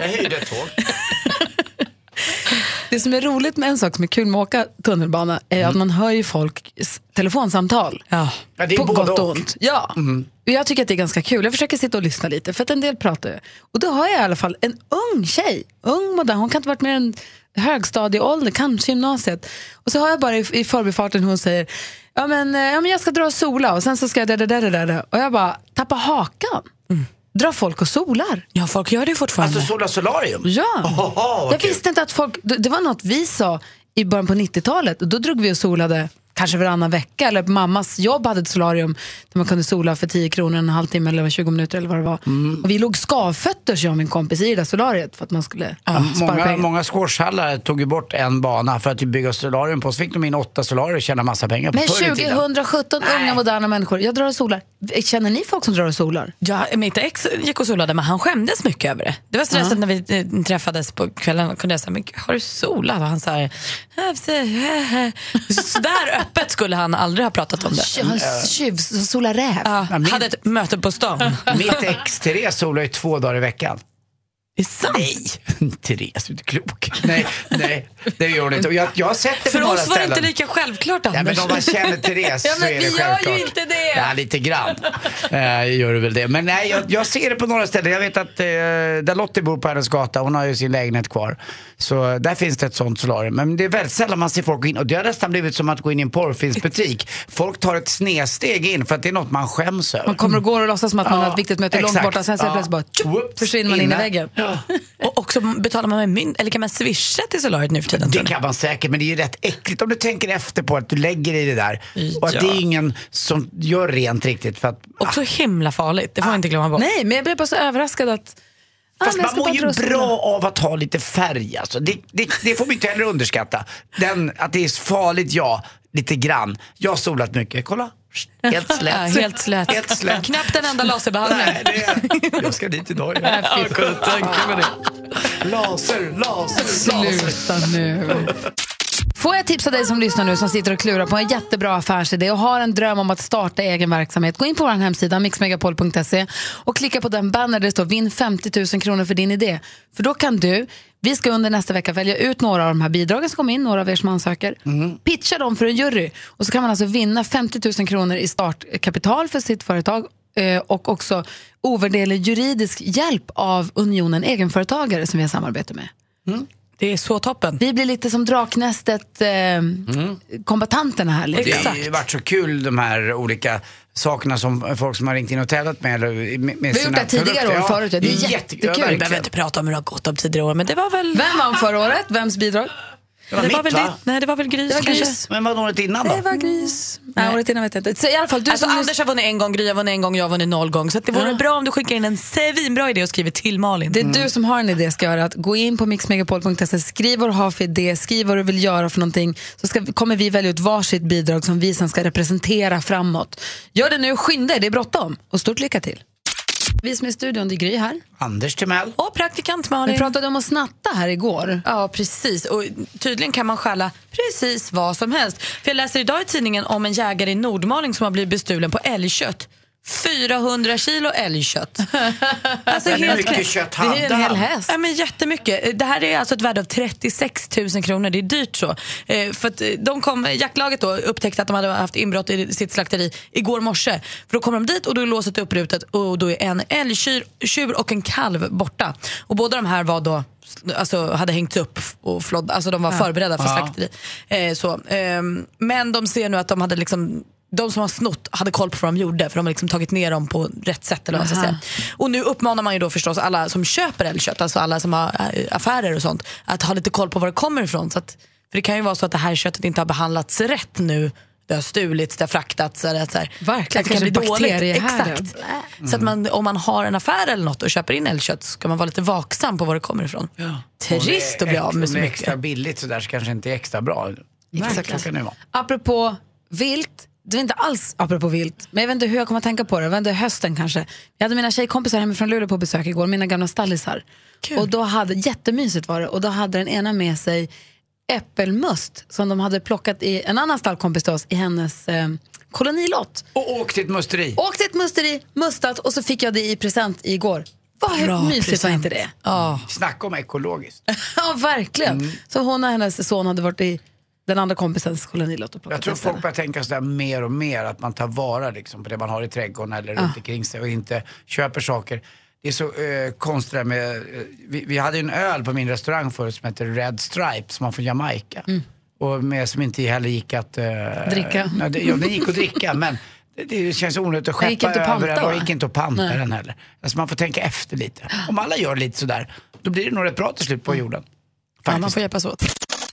B: Jag hyrde ett tåg.
A: Det som är roligt med en sak som är kul med att åka tunnelbana är att man hör ju folks telefonsamtal. Mm. Ja.
B: Ja, det är
A: på
B: både
A: gott och
B: och. Mm.
A: ont. Ja. Och Jag tycker att det är ganska kul. Jag försöker sitta och lyssna lite, för att en del pratar ju. Och då har jag i alla fall en ung tjej, ung modern, hon kan inte varit mer än högstadieålder, kanske gymnasiet. Och så har jag bara i, i förbifarten hon säger, ja men, eh, ja men jag ska dra och sola och sen så ska jag där, där, där, där, där. Och jag bara, tappa hakan. Drar folk och solar?
C: Ja, folk gör det fortfarande.
B: Alltså Sola Solarium?
A: Ja.
B: Ohoho, vad
A: jag
B: kul.
A: visste inte att folk... Det det var något vi sa i början på 90-talet. Och Då drog vi och solade kanske varannan vecka. Eller mammas jobb hade ett solarium där man kunde sola för 10 kronor en halvtimme eller 20 minuter eller vad det var.
B: Mm.
A: Och vi låg skavfötters, jag och min kompis, i det där solariet för att man skulle
B: Ja,
A: spara
B: många
A: pengar.
B: många squashhallar tog ju bort en bana för att bygga solarium på. Så fick de in åtta solarier och tjänade massa pengar på
A: Men
B: förr i tiden.
A: 2017, unga moderna människor. Jag drar och solar. Känner ni folk som drar och solar?
C: Ja, mitt ex gick och solade men han skämdes mycket över det. Det var stressigt när vi eh, träffades på kvällen och kunde jag säga, men gud, har du solat? Och han sa, "Eh, sådär eh." öppet skulle han aldrig ha pratat om det.
A: Jag har tjuv som solar räv.
C: Ja, hade ett möte på stan.
B: Mitt ex Therese solar ju två dagar i veckan.
C: Det är sant.
B: Nej, Therese, du är inte klok. Nej, nej, det gör hon inte. Och jag, jag har sett det på
C: För
B: några
C: oss var det
B: ställen.
C: inte lika självklart
B: Ja,
C: Anders.
B: men om man känner Therese
C: ja,
B: så
C: men
B: är
C: vi
B: det självklart.
C: gör ju inte det.
B: Ja, lite grann eh, gör du väl det. Men nej, jag, jag ser det på några ställen. Jag vet att eh, där Lottie bor på hennes gata, hon har ju sin lägenhet kvar. Så där finns det ett sånt solarium. Men det är väldigt sällan man ser folk gå in. Och det har nästan blivit som att gå in i en porrfilmsbutik. Folk tar ett snedsteg in för att det är något man skäms över.
A: Man kommer och går och låtsas som att man
B: Ja,
A: har ett viktigt möte långt
B: exakt.
A: borta. Sen så
B: Ja.
A: plötsligt bara, tjup,
B: Whoops,
A: försvinner man in i
B: inne.
A: väggen.
C: Och också betalar man med mynt, eller kan man swisha till solariet nu för tiden?
B: Det kan man säkert, men det är ju rätt äckligt om du tänker efter på att du lägger i det där. Och att
C: Ja.
B: det är ingen som gör rent riktigt. För att,
C: Och så himla farligt, det får man inte glömma bort.
A: Nej, men jag blev bara så överraskad att... Ah,
B: Fast
A: men jag ska
B: man
A: bara dra
B: mår ju
A: och sola.
B: bra av att ha lite färg. Alltså. Det, det, det får vi inte heller underskatta. Den, att det är farligt, ja. Lite grann. Jag har solat mycket. Kolla. Helt slät.
C: Ja, helt slät.
B: Helt slät.
C: Knappt en enda laserbehandling.
B: Nej, det är, jag ska dit idag. Ja. Jag kunde tänka mig det. Laser, laser, laser.
A: Sluta nu. Får jag tipsa dig som lyssnar nu som sitter och klurar på en jättebra affärsidé och har en dröm om att starta egen verksamhet. Gå in på vår hemsida mixmegapol.se och klicka på den banner där det står vinn 50 000 kronor för din idé. För då kan du, vi ska under nästa vecka välja ut några av de här bidragen som kom in, några av er som ansöker, pitcha dem för en jury och så kan man alltså vinna 50 000 kronor i startkapital för sitt företag eh, och också ovärderlig juridisk hjälp av Unionen Egenföretagare som vi har samarbete med.
C: Det är så toppen.
A: Vi blir lite som Draknästet, eh, kombatanterna här. Lite.
B: Det
A: grann.
B: har ju varit så kul de här olika sakerna som folk som har ringt in och tävlat med. Eller med, med
A: Vi har gjort det här tidigare år förut. Det är jättekul.
B: Ja,
C: Vi
B: verkligen.
C: behöver inte prata om hur det har gått om tidigare år, men det var väl...
A: Vem vann förra året? Vems bidrag?
B: det var
C: Det var
B: mitt
C: väl
B: va?
C: ditt, nej det var väl Grys
A: Det var Grys.
C: kanske?
B: Men vad året innan då?
A: Det var Gris. Nej, året innan vet jag inte. Så i alla fall, du
C: Alltså
A: som lyssnar-
C: Anders har vunnit en gång, Gry har vunnit en gång, jag har vunnit noll gång. Så att det vore bra om du skickar in en svinbra idé och skriver till Malin.
A: Det är du som har en idé ska göra. Att gå in på mixmegapol.se, skriv vad du har för idé, skriv vad du vill göra för någonting. Så ska, kommer vi välja ut varsitt bidrag som vi sen ska representera framåt. Gör det nu, skynda er, det är bråttom. Och stort lycka till. Vi som är i studion, det är Gry här.
B: Anders Timell.
C: Och praktikant Malin.
A: Vi pratade om att snatta här igår.
C: Ja, precis. Och tydligen kan man stjäla precis vad som helst. För jag läser idag i tidningen om en jägare i Nordmaling som har blivit bestulen på älgkött. 400 kilo älgkött. Alltså,
A: Men hur mycket
C: knäppt.
A: kött hade Det är en hel han? häst.
C: Ja, men jättemycket. Det här är alltså ett värde av 36 000 kronor. Det är dyrt så. Eh, för att eh, de kom, jaktlaget då, upptäckte att de hade haft inbrott i sitt slakteri igår morse. För då kommer de dit och då är låset upprutet och då är en älgtjur tjur och en kalv borta. Och båda de här var då Alltså hade hängts upp och flodda, alltså de var
A: Ja.
C: förberedda för
A: Ja.
C: slakteri. Eh, så. ehm, men de ser nu att de hade liksom de som har snott hade koll på vad de gjorde för de har liksom tagit ner dem på rätt sätt. Eller vad man
A: Aha.
C: ska säga. Och nu uppmanar man ju då förstås alla som köper älgkött, alltså alla som har eh, affärer och sånt, att ha lite koll på var det kommer ifrån. Så att, för det kan ju vara så att det här köttet inte har behandlats rätt nu. Det har stulits, det har fraktats. Eller att så här,
A: Verkligen,
C: att det kan bli
A: kanske
C: dåligt.
A: bakteriehärden.
C: Exakt.
A: Blä.
C: Så att man, om man har en affär eller något och köper in älgkött så ska man vara lite vaksam på var det kommer ifrån. Trist att bli av med så
B: Om det är
C: mycket.
B: extra billigt så där så kanske inte är extra bra.
A: Exakt.
B: Så kan det vara.
A: Apropå vilt, det var inte alls apropå vilt, men jag vet inte hur jag kommer att tänka på det, det var ändå hösten kanske. Jag hade mina tjejkompisar hemifrån Luleå på besök igår, mina gamla stallisar. Och då hade, jättemysigt var det, och då hade den ena med sig äppelmust som de hade plockat i en annan stallkompis till oss i hennes eh, kolonilott.
B: Och åk till ett musteri.
A: Åkt till ett musteri, mustat och så fick jag det i present igår. Vad
B: Bra
A: mysigt var
B: present.
A: inte det?
B: Snacka om ekologiskt.
A: ja, verkligen.
C: Mm.
A: Så hon och hennes son hade varit i den andra kompisens kolonilott och plockat
B: Jag tror
A: istället.
B: folk börjar tänka sådär mer och mer att man tar vara liksom, på det man har i trädgården eller
A: Ja.
B: runt omkring sig och inte köper saker. Det är så eh, konstigt det här med, eh, vi, vi hade ju en öl på min restaurang förut som hette Red Stripe som var från Jamaica. Och med, som inte heller gick att... eh,
A: Mm. Dricka.
B: Nej, det, ja, den gick att dricka men det, det känns onödigt att
A: Den gick
B: skeppa
A: inte att
B: över
A: panta,
B: den och
A: va?
B: gick inte att panta
A: Nej.
B: den heller. Alltså man får tänka efter lite. Om alla gör lite sådär, då blir det nog rätt bra till slut på jorden.
C: Ja, man får hjälpas åt.